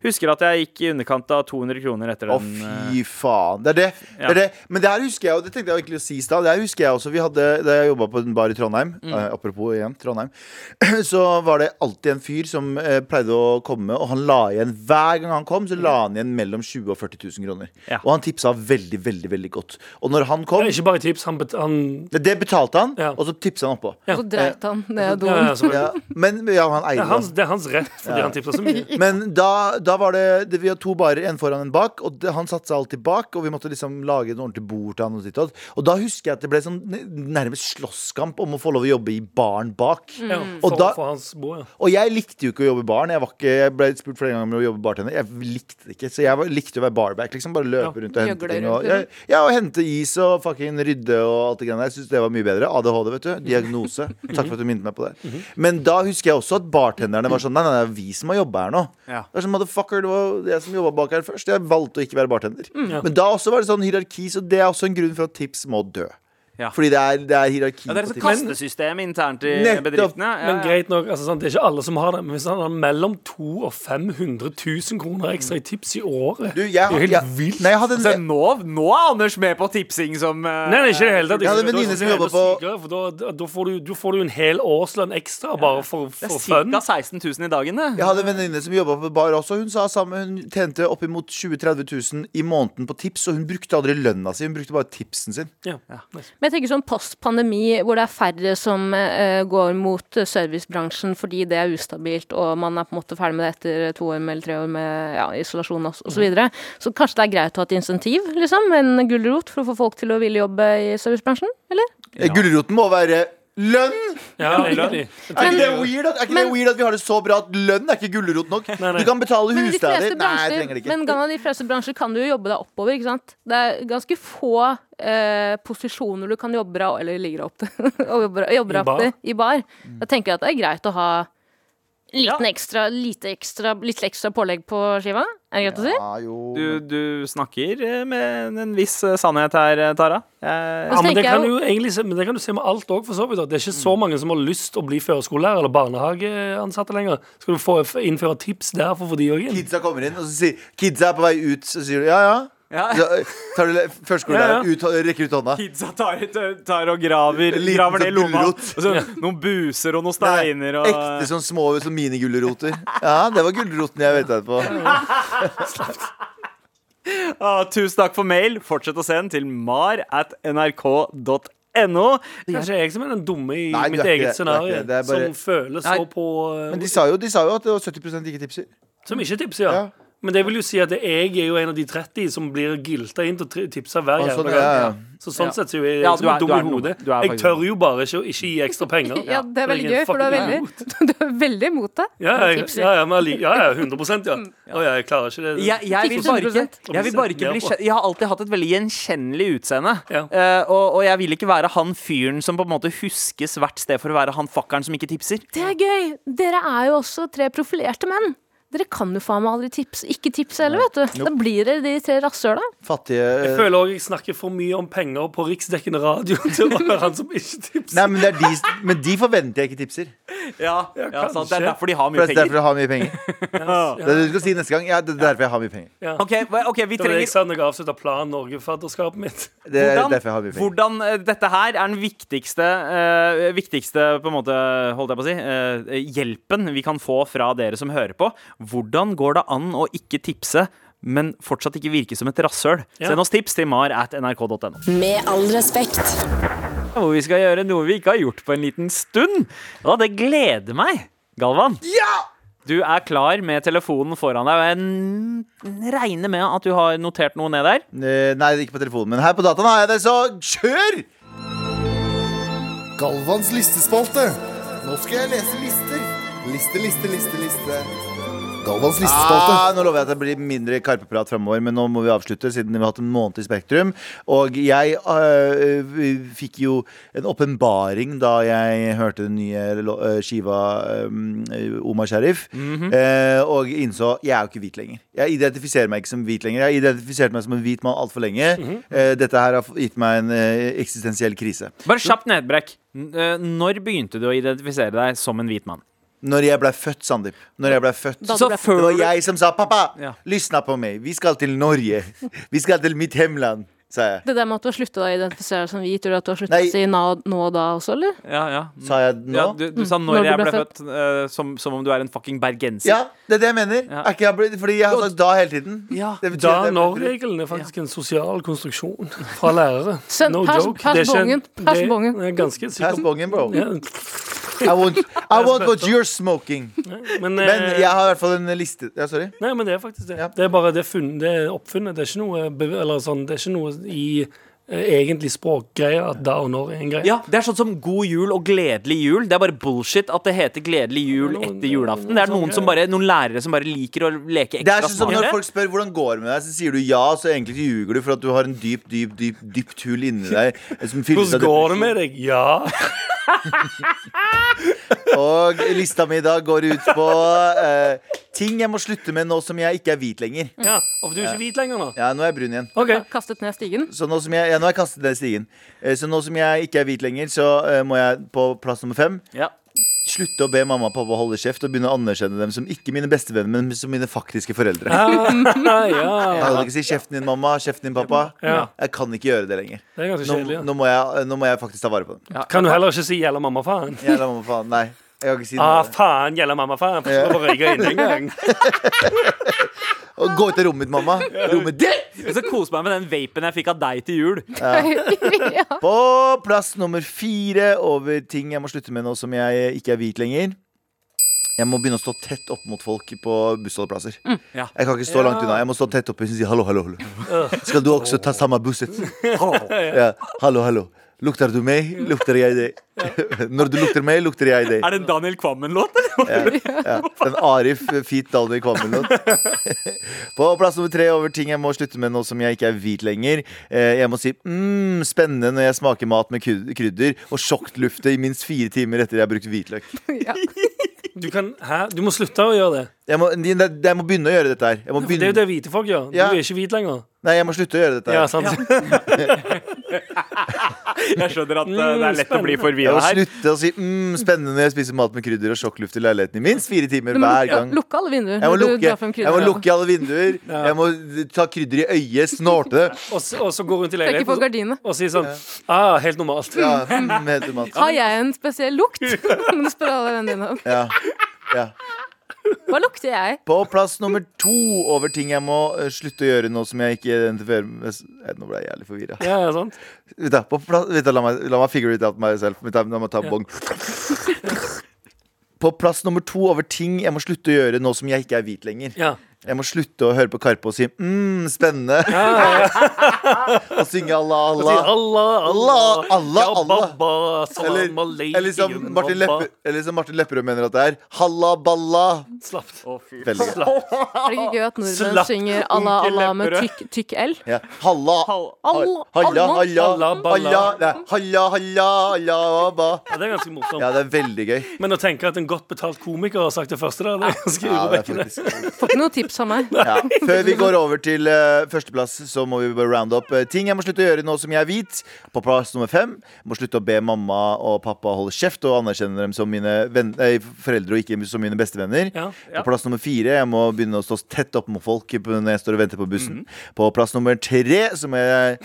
D: Husker at jeg gikk i underkant av 200 kroner etter
B: Å,
D: den. eh,
B: fy faen. Det er det. det er det. Men det her husker jeg, og det tenkte jeg egentlig å si i stad. Det her husker jeg også. Vi hadde, da jeg jobba på en bar i Trondheim, eh, apropos igjen Trondheim, så var det alltid en fyr som eh, pleide å komme, og han la igjen hver gang han kom, så la han igjen mellom 20 000 og 40 000 kroner.
D: Ja.
B: Og han tipsa veldig, veldig, veldig godt. Og når han
C: Det
B: kom
C: er Ikke bare tips. Han, bet- han
B: Det det betalte han,
C: Ja.
B: og så tipsa han oppå.
E: Og så dreit han ned i
C: ja,
E: doen.
C: ja, så-
B: Ja, men ja, han
C: det,
B: eide
C: er hans,
B: det.
C: det er hans rett, fordi han tipsa så mye.
B: Men da, da var det, det Vi hadde to barer, en foran en bak, og det, han satte seg alltid bak. Og vi måtte liksom lage en ordentlig bord til han. Og, ditt og, datt. og da husker jeg at det ble sånn n- nærmest slåsskamp om å få lov å jobbe i baren bak.
C: Ja,
B: Og
C: for,
B: da-
C: for hans bo, ja.
B: Og jeg likte jo ikke å jobbe i baren. Jeg, var ikke, jeg ble spurt flere ganger om å jobbe bartender. Jeg likte det ikke, så jeg var, likte å være barback. Liksom bare løpe rundt og hente
E: Gjøgle
B: ting.
E: rundt,
B: Og, jeg, ja, og hente is og fucking rydde og alt det greiene der. Jeg syns det var mye bedre. ADHD, vet du. Diagnose. Takk for at du minnet meg på det. Men da husker jeg også at bartenderne var sånn Nei, nei, det er vi som må jobbe her nå.
D: Ja.
B: Det er sånn, motherfucker, det var jeg som jobba bak her først. Jeg valgte å ikke være bartender.
C: Ja.
B: Men da også var det sånn hierarki, så det er også en grunn for at tips må dø.
D: Ja.
B: Fordi det er, det er hierarki
D: Ja, det er et sånt
B: tips.
D: kastesystem internt i
B: Nettopp.
D: bedriftene. Ja,
C: Men
D: ja.
C: greit nok, altså, sant, det er ikke alle som har det. Men hvis han har mellom 200 og 500 000 kroner ekstra i tips i året
B: Du, jeg,
C: Det er jo helt
B: jeg-
C: vilt. Altså,
B: Nei, jeg hadde en,
D: Så nå, nå er Anders med på tipsing som eh,
C: Nei, nei, ikke i det hele tatt.
B: Jeg hadde en
C: Da-
B: venninne
C: da-
B: som
C: da-
B: jobbet
C: da-
B: på-
C: sykere, for Da, da, får du, da får du en hel årslønn ekstra bare for,
D: Det
C: for
D: er
C: fun.
D: ca. 16 000 i dagen, det.
B: Jeg hadde en venninne som jobba på bar også. Hun sa sammen, hun tjente oppimot 20 000-30 000 i måneden på tips, og hun brukte aldri lønna si. Hun brukte bare tipsen sin.
C: Ja.
E: Men jeg tenker sånn post pandemi, hvor det er færre som eh, går mot eh, servicebransjen fordi det er ustabilt, og man er på en måte ferdig med det etter to år med, eller tre år med ja, isolasjon og, s- og så videre. Så kanskje det er greit å ha et insentiv, liksom? En gulrot for å få folk til å ville jobbe i servicebransjen, eller?
B: Eh, Gulroten må være lønn!
C: Ja, egentlig. Jeg
B: Er
C: tenker
B: ikke, det
C: jo-
B: weird, at, er ikke det weird at vi har det så bra at lønn er ikke gulrot nok?
C: nei.
B: Du kan betale
E: Men i de
B: husleia di.
E: fleste
B: Nei, jeg
E: bransjer-
B: trenger det ikke.
E: Men Ganna, i de fleste bransjer kan du jo jobbe deg oppover, ikke sant? Det er ganske få eh, posisjoner du kan jobbe deg eller ligger deg opp til, og jobber,
C: I
E: jobber deg opp
C: bar.
E: til i bar.
B: Mm.
E: Da tenker jeg at det er greit å ha liten ekstra, lite ekstra, litt ekstra pålegg på skiva. Er det greit å si?
B: Ja, Ah, jo.
D: Du, du snakker eh, med en viss eh, sannhet her, eh, Tara. Jeg,
C: Ja, men det
E: tenker jeg
C: kan
E: jo-
C: jo egentlig se, men det kan du se med alt òg, for så vidt. da. Det er ikke så mange som har lyst å bli førskolelærer eller barnehageansatte lenger. Skal du få f- innføre tips der for å få de òg inn?
B: Kidsa kommer inn, og så sier Kidsa er på vei ut, så sier du ja, ja.
D: Ja.
B: Så eh, tar du le-
C: Ja, ja.
B: førskolelæreren ut, og rekker ut hånda.
D: Kidsa tar, tar og graver,
B: Liten
D: graver ned i lomma.
B: gulrot.
D: Og så, noen buser og
B: Nei,
D: noen steiner. Og,
B: Ekte sånn små sånn minigulroter. Ja, det var gulroten jeg ventet på.
D: Ah, tusen takk for mail. Fortsett å sende til mar at nrk.no.
C: Kanskje jeg som er den dumme i
B: Nei, du
C: mitt
B: er ikke det. Du er
C: eget
B: ikke
C: scenario,
B: det. Det er bare-
C: som føler så
D: Nei.
C: på eh,
B: Men de sa jo, de sa jo at det var 70 ikke tipser.
C: Som ikke tipser, ja.
B: Ja.
C: Men det vil jo si at jeg er jo en av de 30 som blir gilta inn til å tri- tipse hver
B: Og
C: jævla
B: sånn,
C: gang.
B: ja, ja.
C: Så sånn
D: Ja.
C: sett så er jeg
D: Ja,
C: liksom
D: du er-
C: dum
D: du
C: i
D: er noe.
C: hodet.
D: Du er
C: Jeg
D: faktisk-
C: tør jo bare ikke, å- ikke gi ekstra penger.
E: Ja, det er
C: For jeg
E: veldig
C: en
E: gøy, for du er
C: fucking
E: veldig, du er veldig imot det.
C: Ja, jeg,
E: Tipser.
C: ja, ja, men alli- ja, ja, 100 ja. Å ja, jeg klarer ikke det.
D: Jeg, jeg, vil bare ikke,
E: 1000%.
D: jeg vil bare ikke bli kjen- Jeg har alltid hatt et veldig gjenkjennelig utseende.
C: Ja.
D: Eh, og, og jeg vil ikke være han fyren som på en måte huskes hvert sted for å være han fuckeren som ikke tipser.
E: Det er gøy! Dere er jo også tre profilerte menn. Dere kan jo faen meg aldri tipse. Ikke tipse heller, vet du. Da blir dere de tre rasshøla.
B: Fattige
C: Jeg føler òg jeg snakker for mye om penger på riksdekkende radio til å være han som ikke tipser.
B: Nei, men, det er de, men de forventer jeg ikke tipser.
D: Ja, ja sant. Det
C: kanskje.
D: er derfor de har
B: For
D: mye
B: det er derfor
D: penger.
B: jeg har mye penger. Det er det du skal si neste gang. Ja, det er derfor jeg har mye penger.
C: Ja.
D: Ok, hva-
C: Det
D: ok, vi
C: var det jeg
D: trenger
C: sa når jeg avslutta Plan Norge-fadderskapet mitt.
B: Det er
D: hvordan,
B: derfor jeg har mye penger.
D: hvordan eh, dette her er den viktigste eh, Viktigste, på en måte, holdt jeg på å si, eh, hjelpen vi kan få fra dere som hører på. Hvordan går det an å ikke tipse, men fortsatt ikke virke som et rasshøl?
C: Ja.
D: Send oss tips til mar at nrk.no.
G: Med all respekt.
D: Hvor vi skal gjøre noe vi ikke har gjort på en liten stund. Og det gleder meg, Galvan. Du er klar med telefonen foran deg. og Jeg regner med at du har notert noe ned der.
B: Eh, Nei, ikke på telefonen, men her på dataen har jeg det, så kjør!
F: Galvans listespalte. Nå skal jeg lese lister. Liste, liste, liste, liste. Galvans
B: Ah, nå lover jeg at det blir mindre karpeprat framover, men nå må vi avslutte siden vi har hatt en måned i Spektrum. Og jeg øh, fikk jo en åpenbaring da jeg hørte den nye lo- øh, skiva øh, Omar Sharif, eh, og innså jeg er jo ikke hvit lenger. Jeg identifiserer meg ikke som hvit lenger. Jeg har identifisert meg som en hvit mann altfor lenge. Eh, dette her har gitt meg en eh, eksistensiell krise.
D: Bare kjapt nedbrekk. N- eh, Når begynte du å identifisere deg som en hvit mann?
B: Når jeg blei født, Sandeep. Når jeg blei født.
E: Da du
D: Så
E: ble-
B: Det
D: før
B: var
D: du
B: jeg som sa 'pappa,
D: Ja.
B: lysna på meg, vi skal til Norge'. Vi skal til mitt hjemland, sa jeg.
E: Det der med at du har slutta å identifisere deg som hvit, gjør det at du har slutta
B: Nei.
E: å si nå, nå og da også, eller?
D: Ja, ja.
B: Sa jeg det
D: ja
B: nå?
D: du, du sa
E: Når
D: når
E: du
D: jeg
E: ble
D: ble født, eh, som, som om du er en fucking bergenser.
B: Ja, det er det jeg mener.
D: Ja.
B: Er ikke jeg, blitt- fordi jeg har sagt da hele tiden.
D: Ja.
B: Det betyr at jeg-
C: Da-når-regelen er faktisk en sosial konstruksjon fra lærere.
E: Send-
C: no
E: pass-
C: joke.
E: pass
C: Det er ikke en-
E: bongen, pass
C: det-
E: bongen.
C: Jeg er ganske
B: Pass
C: sikker.
B: bongen, bro.
C: Ja,
B: I want, I want what you're smoking.
C: men,
B: Men
C: eh,
B: jeg har i hvert fall en liste. Ja, sorry.
C: Nei, men det er faktisk det.
B: Ja.
C: Det er bare det, funn, det er oppfunnet. Det er ikke noe, bev- eller sånn, det er ikke noe i eh, egentlig språkgreier at da og når er en greie.
D: Ja, Det er sånn som God jul og Gledelig jul. Det er bare bullshit at det heter Gledelig jul etter julaften. Det er noen, som bare, noen lærere som bare liker å leke
B: Det er
D: ekstra
B: sånn som når
D: smarte.
B: folk spør hvordan går det med deg, så sier du ja, så egentlig ljuger du for at du har en dyp, dyp, dyp, dypt hull inni deg. Som fylles av
C: Hvordan går det med deg? Ja.
B: Og lista mi i dag går ut på eh, ting jeg må slutte med nå som jeg ikke er hvit lenger.
C: ja. Og du er ikke hvit lenger nå?
B: Ja, nå er jeg brun igjen.
C: OK.
E: Kastet ned stigen.
B: Så nå som jeg, ja, nå har jeg kastet ned stigen. Eh, Så nå som jeg ikke er hvit lenger, så eh, må jeg på plass nummer fem
D: Ja.
B: slutte å be mamma og pappa holde kjeft og begynne å anerkjenne dem som ikke mine bestevenner, men som mine faktiske foreldre.
C: Ah, ja.
B: Jeg kan ikke si 'kjeften din, mamma', 'kjeften din, pappa'.
C: Ja.
B: Jeg kan ikke gjøre det lenger.
C: Det er ganske
B: Nå,
C: kjedelig. Ja.
B: nå, må, jeg, nå må jeg faktisk ta vare på dem.
C: Kan du heller ikke si 'gjelder mamma, faen'?
B: Jævla mamma, faen. Nei. Jeg kan ikke si
C: Ah,
B: noe.
C: faen, gjelder mamma, faen. For så bare røyker jeg inn en gang.
B: Og gå ut av rommet mitt, mamma. Rommet ditt!
D: Og så kose meg med den vapen jeg fikk av deg til jul.
B: På plass nummer fire over ting jeg må slutte med nå som jeg ikke er hvit lenger. Jeg må begynne å stå tett opp mot folk på bussholdeplasser.
D: Ja.
B: Jeg kan ikke stå langt unna. Jeg må stå tett oppe og si hallo, hallo. hallo Skal du også ta samme busset? Ja. Hallo, hallo. Lukter du meg, lukter jeg deg. Når du lukter meg, lukter jeg deg.
D: Er det en Daniel Kvammen-låt? eller?
B: Ja. En Arif eh, Fit Dalby Kvammelot. På plass nummer tre over ting jeg må slutte med nå som jeg ikke er hvit lenger. Eh, Jeg må si mm, spennende når jeg smaker mat med kryd- krydder, og sjokklufte i minst fire timer etter jeg har brukt hvitløk.
C: Du kan Hæ? Du må slutte å gjøre det.
B: Jeg må, jeg må begynne å gjøre dette her. Jeg må,
C: For det er jo
B: begynne,
C: det hvite folk gjør. Du
B: Ja.
C: er ikke hvit lenger.
B: nei, jeg må slutte å gjøre dette
C: Ja,
B: her.
C: sant?
D: Jeg skjønner at eh, det er lett å bli
B: Jeg
D: forvirra
B: må
D: her.
B: slutte å si mm, spennende når jeg spiser mat med krydder og sjokkluft i leiligheten i minst fire timer
E: Du må
B: hver
E: lukke,
B: gang.
E: lukke alle vinduer.
B: Jeg må
E: når du
B: lukke,
E: drar frem
B: jeg må
E: krydder.
B: lukke alle vinduer. Jeg må ta krydder i øyet, snorte det.
C: Og så, og så gå rundt i
E: Trekke på
C: leiligheten og,
E: gardinene.
C: og si sånn Ah, helt normalt.
B: Ja, mm, helt normalt.
E: Har jeg en spesiell lukt? Må du spørre alle vennene dine om.
B: Ja. Ja.
E: Hva lukter jeg?
B: På plass nummer to over ting jeg må eh, slutte å gjøre nå som jeg ikke identifiserer med Eh, Nå ble jeg jævlig forvirra.
C: Ja, sant?
B: Vent da, på plass- vent da, La, meg- la meg figure it out myself. Vent da, La meg ta bong. På plass nummer to over ting jeg må slutte å gjøre nå som jeg ikke er hvit lenger.
C: Ja.
B: Jeg må slutte å høre på Karpe og si mm, spennende. og synge Allah,
C: Og si
B: Allah.
C: Allah,
B: Allah, Allah,
C: ja,
B: Allah.
C: Baba, salam
B: Eller,
C: aleikum,
B: eller, som Martin
C: baba.
B: Lepper, eller som Martin Lepperød mener at det er. Halla balla.
C: Slapp.
B: Veldig gøy.
E: Er det ikke gøy at nordmenn
C: Slapp
E: synger Allah
D: onkel
E: Allah med
D: Lepperød.
E: tykk, tykk L?
B: Ja. Halla.
D: Hall-
E: All-
B: Halla,
E: Allah.
B: halla, halla,
C: Halla, balla.
B: nei, halla, halla, halla, ba.
C: Ja, det er ganske morsomt.
B: Ja, det er veldig gøy.
C: Men å tenke at en godt betalt komiker har sagt det første der, det er ganske
B: Ja, det er
C: urovekkende.
B: faktisk
E: Får ikke noe tips tips av meg.
B: Ja. Før vi går over til eh, førsteplass, så må vi bare round up eh, ting jeg må slutte å gjøre nå som jeg er hvit. På plass nummer fem må slutte å be mamma og pappa holde kjeft og anerkjenne dem som mine venn, eh, foreldre og ikke som mine bestevenner.
C: Ja.
B: På plass nummer fire jeg må begynne å stå tett opp mot folk på- når jeg står og venter på bussen. På plass nummer tre så må jeg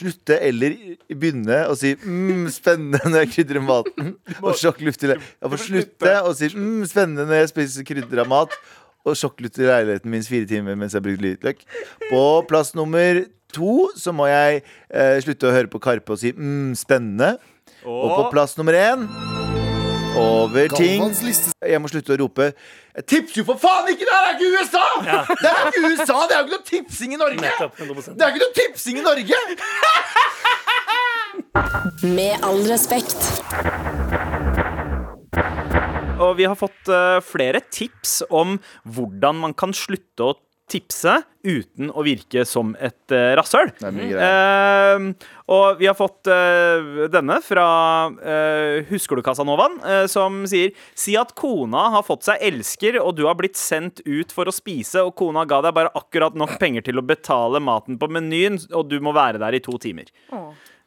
B: slutte eller begynne å si mm, spennende når jeg krydrer maten. Og sjokk luft til Jeg får slutte å si mm, spennende når jeg spiser krydder av mat. Og sjokk luft til leiligheten minst fire timer mens jeg bruker hvitløk. På plass nummer to så må jeg eh, slutte å høre på Karpe og si mm, spennende. Og på plass nummer én over ting
F: Galvans liste
B: jeg må slutte å rope Jeg tipser jo for faen ikke! Det her er ikke USA! Det er ikke USA, det er jo ikke noe tipsing i Norge!
C: Nettopp, 100%.
B: Det er jo ikke noe tipsing i Norge!
G: Med all respekt.
D: Og vi har fått eh, flere tips om hvordan man kan slutte å tipse uten å virke som et uh, rasshøl.
B: er mye
D: Eh, og vi har fått eh, denne fra eh, Husker du Casanovaen, eh, som sier Si at kona har fått seg elsker, og du har blitt sendt ut for å spise, og kona ga deg bare akkurat nok penger til å betale maten på menyen, og du må være der i to timer.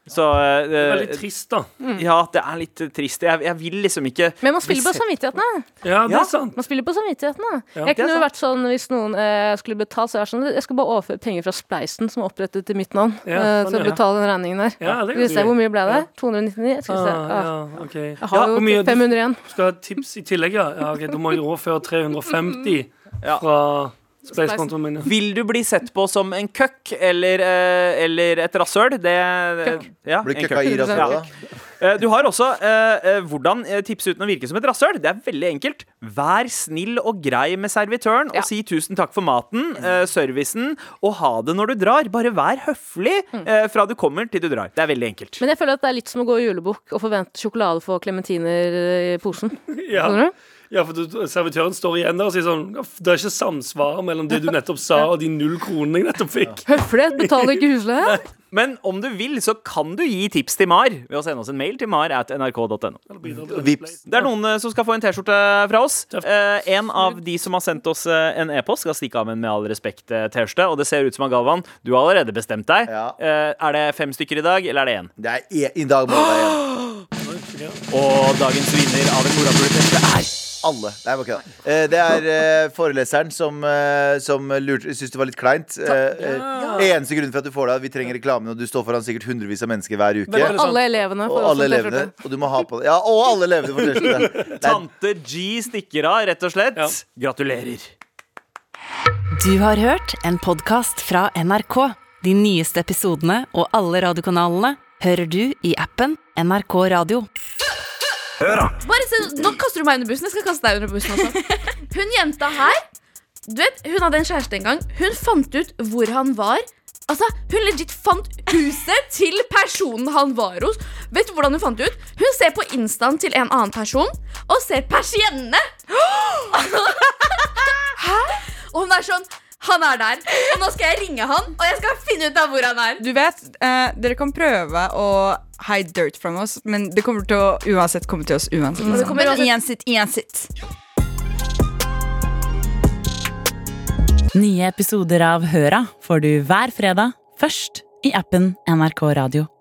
D: Så eh,
C: Veldig trist, da.
D: Ja, det er litt trist. Jeg, jeg vil liksom ikke
E: Men man spiller
D: bli
E: på samvittigheten. da.
C: Ja, det
D: Ja.
C: er sant.
E: Man spiller på samvittigheten da.
C: det
E: Jeg
D: er
E: kunne jo
D: sant.
E: vært sånn hvis noen eh, skulle betale, så jeg, sånn, jeg skal bare overføre penger fra Spleisen, som er opprettet til mitt navn,
C: Ja,
E: eh,
C: sånn,
E: til
C: ja.
E: å betale den regningen der.
C: Ja, det er
E: Skal vi se
C: gøy.
E: hvor mye ble det? 299? Skal vi se.
C: Ah,
E: Ah,
C: ja, ok.
E: Jeg har
C: hvor
E: jo
C: mye-
E: 500 igjen.
C: Du skal ha tips i tillegg, ja. ja ok, Da må jeg overføre 350
E: Mm.
D: Ja.
C: fra spacekontoen min. ja.
D: Vil du bli sett på som en køkk eller, eh, eller et rasshøl? Det, ja,
B: Blir
D: en
B: køkka i
D: køkk.
B: rasshøla.
D: Ja. Eh, Du har også eh, eh, hvordan eh, tipse uten å virke som et rasshøl. Det er veldig enkelt. Vær snill og grei med servitøren og si tusen takk for maten, eh, servicen, og ha det når du drar. Bare vær høflig eh, fra du kommer til du drar. Det er veldig enkelt.
E: Men jeg føler at det er litt som å gå i julebukk og forvente sjokolade for klementiner eh, i posen.
C: Ja.
E: Skjønner du?
C: ja, for du, servitøren står igjen der og sier sånn "Ja, f- Det er ikke samsvar mellom det du nettopp sa, og de null kronene jeg nettopp fikk.
E: Høflighet betaler ikke husleie.
D: Men om du vil, så kan du gi tips til Mar ved å sende oss en mail til mar at nrk.no.
B: Vips.
D: Det er noen eh, som skal få en T-skjorte fra oss.
C: Tøft.
D: Eh, en av de som har sendt oss eh, en e-post, skal stikke av med en Med all respekt-T-skjorte. Og det ser ut som at Galvan, du har allerede bestemt deg.
B: Ja.
D: Eh, er det fem stykker i dag, eller er det én?
B: Det er e I dag må det være en.
D: Og dagens vinner av en morapuletest er
B: alle. Nei, det var ikke det. Eh, Det er eh, foreleseren som, eh, som lurte syntes det var litt kleint. Eh, eh, Eneste grunnen for at du får det, er at vi trenger reklamen, og du står foran sikkert hundrevis av mennesker hver uke.
C: Veldig sant.
E: Alle elevene
B: Og
E: får også
B: alle
E: en
B: elevene.
E: T-skjorte.
B: Og du må ha på det. Ja, og alle elevene får T-skjorte. Det er
D: Tante G stikker av, rett og slett.
C: Ja.
D: Gratulerer.
A: Du har hørt en podkast fra NRK. De nyeste episodene og alle radiokanalene hører du i appen NRK Radio.
H: Bare se, sånn, nå kaster du meg under bussen. Jeg skal kaste deg under bussen også. Hun jenta her Du vet, Hun hadde en kjæreste en gang. Hun fant ut hvor han var. Altså, Hun legit fant huset til personen han var hos. Vet du hvordan Hun fant det ut? Hun ser på instaen til en annen person og ser persiennene! Hæ? Og hun er sånn Han er der. Og nå skal jeg ringe han, og jeg skal finne ut av hvor han er.
I: Du vet, eh, dere kan prøve å hide dirt from oss, men det kommer til å uansett komme til oss uansett.
H: det kommer uansett-
I: Uansett, uansett.
J: Nye episoder av Høra får du hver fredag, først i appen NRK Radio.